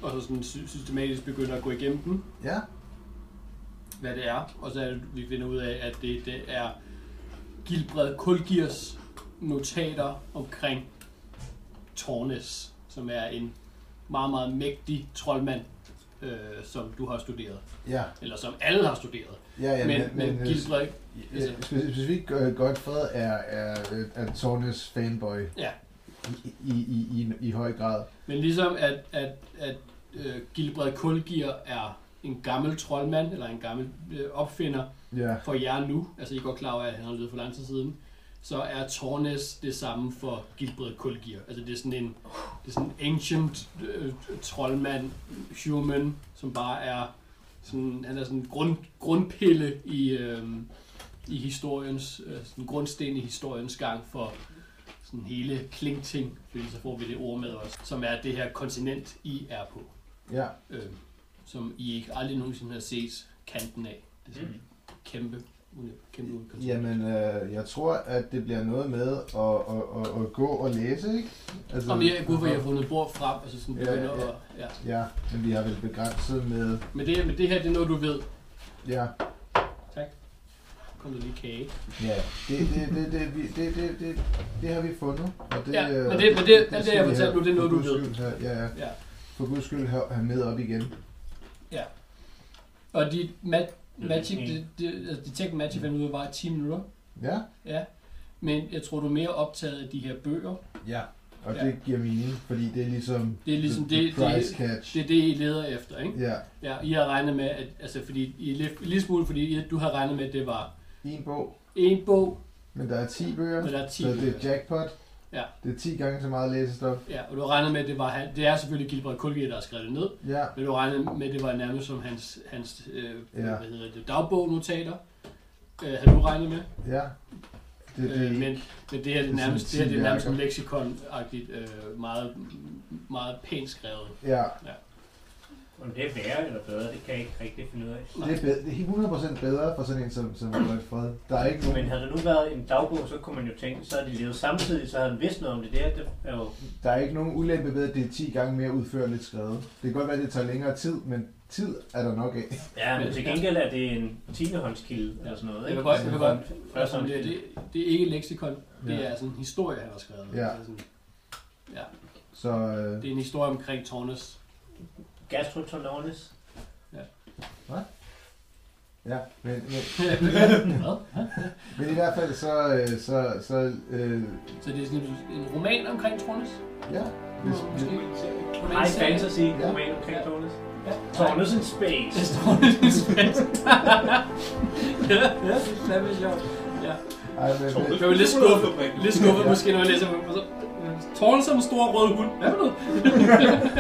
Speaker 5: Og så sådan sy- systematisk begynder at gå igennem dem.
Speaker 2: ja.
Speaker 5: hvad det er, og så er det, vi finder ud af, at det, det er Gilbred Kulgiers notater omkring Tornes, som er en meget, meget mægtig troldmand, øh, som du har studeret,
Speaker 2: Ja,
Speaker 5: eller som alle har studeret.
Speaker 2: ja, ja.
Speaker 5: Ja, men, men, men
Speaker 2: øh,
Speaker 5: Gilbred,
Speaker 2: ja, spe- specifikt øh, Godfred er, er, øh, er Tornes fanboy
Speaker 5: ja,
Speaker 2: i, i, i, i, i høj grad.
Speaker 5: men ligesom at, at, at øh, Gilbred Kulgier er en gammel troldmand, eller en gammel øh, opfinder,
Speaker 2: Ja,
Speaker 5: for jer nu, altså I er godt klar over, at han har levet for lang tid siden, så er Tornes det samme for Gilbred Kulgir. Altså det er sådan en det er sådan en ancient øh, troldmand, human, som bare er sådan, han er sådan en grund, grundpille i, øh, i historiens, øh, sådan en grundsten i historiens gang for sådan hele klingting, fordi så får vi det ord med os, som er det her kontinent, I er på
Speaker 2: ja.
Speaker 5: øh, som I ikke aldrig nogensinde har set kanten af. Det er sådan mm. kæmpe, uni- kæmpe unikoncept.
Speaker 2: Jamen, øh, jeg tror, at det bliver noget med at, at, at, at gå og læse, ikke? Altså,
Speaker 5: Om jeg er gud for, at jeg har fundet et bord frem, og så sådan
Speaker 2: Ja,
Speaker 5: begynder
Speaker 2: ja.
Speaker 5: ja, ja. at... Ja.
Speaker 2: Ja, men vi har vel begrænset med...
Speaker 5: Men, det, men det her, det er noget, du ved.
Speaker 2: Ja,
Speaker 5: Tak. Kom der lige kage.
Speaker 2: ja. Det, det, det, det, vi, det, det, det, det har vi fundet. Og det,
Speaker 5: Ja, men
Speaker 2: øh,
Speaker 5: det- men det- alt det,
Speaker 2: skal
Speaker 5: jeg
Speaker 2: vi
Speaker 5: fortalte
Speaker 2: have-
Speaker 5: nu, det er noget,
Speaker 2: for
Speaker 5: du
Speaker 2: guds
Speaker 5: ved.
Speaker 2: skyld Have, ja, ja.
Speaker 5: Ja.
Speaker 2: For guds skyld have, have med op igen.
Speaker 5: Og dit mat,
Speaker 4: Mm.
Speaker 5: magic,
Speaker 4: Mm.
Speaker 5: det, det, altså detect magic, fandt ud af, var 10 minutter.
Speaker 2: Ja?
Speaker 5: Ja. Men jeg tror, du er mere optaget af de her bøger,
Speaker 2: Ja. Og
Speaker 5: Ja.
Speaker 2: ja. det giver mening, fordi det er ligesom...
Speaker 5: Det er ligesom
Speaker 2: the, the
Speaker 5: det- det-
Speaker 2: price catch.
Speaker 5: Det er det, I leder efter, ikke?
Speaker 2: ja,
Speaker 5: Ja, I har regnet med, at, altså fordi, I er lidt, lidt smule, fordi I, du har regnet med, at det var
Speaker 2: en bog,
Speaker 5: en bog,
Speaker 2: men der er 10 bøger,
Speaker 5: og der er 10
Speaker 2: så det er
Speaker 5: bøger.
Speaker 2: jackpot.
Speaker 5: Ja.
Speaker 2: Det er 10 gange så meget læsestof.
Speaker 5: Ja, og du har regnet med, at det var, han- det er selvfølgelig Gilbert Kulge, der har skrevet det ned,
Speaker 2: Ja,
Speaker 5: men du har regnet med, at det var nærmest som hans, hans øh,
Speaker 2: Ja.
Speaker 5: hvad hedder det, dagbognotater, øh, har du regnet med?
Speaker 2: ja. Det, er
Speaker 5: Øh,
Speaker 2: det,
Speaker 5: men, men det her det er
Speaker 2: sådan
Speaker 5: nærmest, det her, det er
Speaker 2: ti
Speaker 5: nærmest sådan
Speaker 2: værker.
Speaker 5: lexikon-agtigt, øh, meget, meget pænt skrevet.
Speaker 2: ja,
Speaker 4: Om det er værre eller bedre, det kan jeg ikke rigtig finde ud af.
Speaker 2: det er, bedre, det er helt 100% bedre for sådan en som, som Robert Fred. Der er ikke
Speaker 4: Men
Speaker 2: nogen,
Speaker 4: havde det nu været en dagbog, så kunne man jo tænke, så havde de levet samtidig, så havde han vidst noget om det der. Det er jo
Speaker 2: der er ikke nogen ulempe ved, at det er 10 gange mere udførligt skrevet. Det kan godt være, at det tager længere tid, men tid er der nok af.
Speaker 4: Ja, men til gengæld er det en tiendehåndskilde eller sådan noget,
Speaker 5: Jeg
Speaker 4: ikke?
Speaker 5: kan godt, jeg kan godt, altså, det,
Speaker 4: Førstehåndskilde.
Speaker 5: det, det er ikke et lexikon,
Speaker 2: Ja.
Speaker 5: det er sådan en historie, han har skrevet.
Speaker 2: Ja.
Speaker 5: Det, er sådan, ja,
Speaker 2: Så øh,
Speaker 5: det er en historie omkring Tornes.
Speaker 4: Gastrotonornis.
Speaker 2: ja, men, men,
Speaker 5: Hvad?
Speaker 2: men i hvert fald så, øh, så, så øh,
Speaker 5: Så det er sådan en- en roman omkring Tornes?
Speaker 2: ja, hvis,
Speaker 5: Nå,
Speaker 2: hvis,
Speaker 5: måske.
Speaker 4: High fantasy,
Speaker 2: Ja.
Speaker 4: roman omkring Tornes.
Speaker 5: Ja.
Speaker 4: Tornes in
Speaker 5: Det
Speaker 4: space.
Speaker 5: står lidt i spansk. ja, ja, det er fandme sjovt. Ja.
Speaker 2: ej, men, men,
Speaker 5: Jeg var lidt skuffet, lidt skuffet måske, når jeg læser Altså, på så Torne som en stor rød hund. Hvad for noget?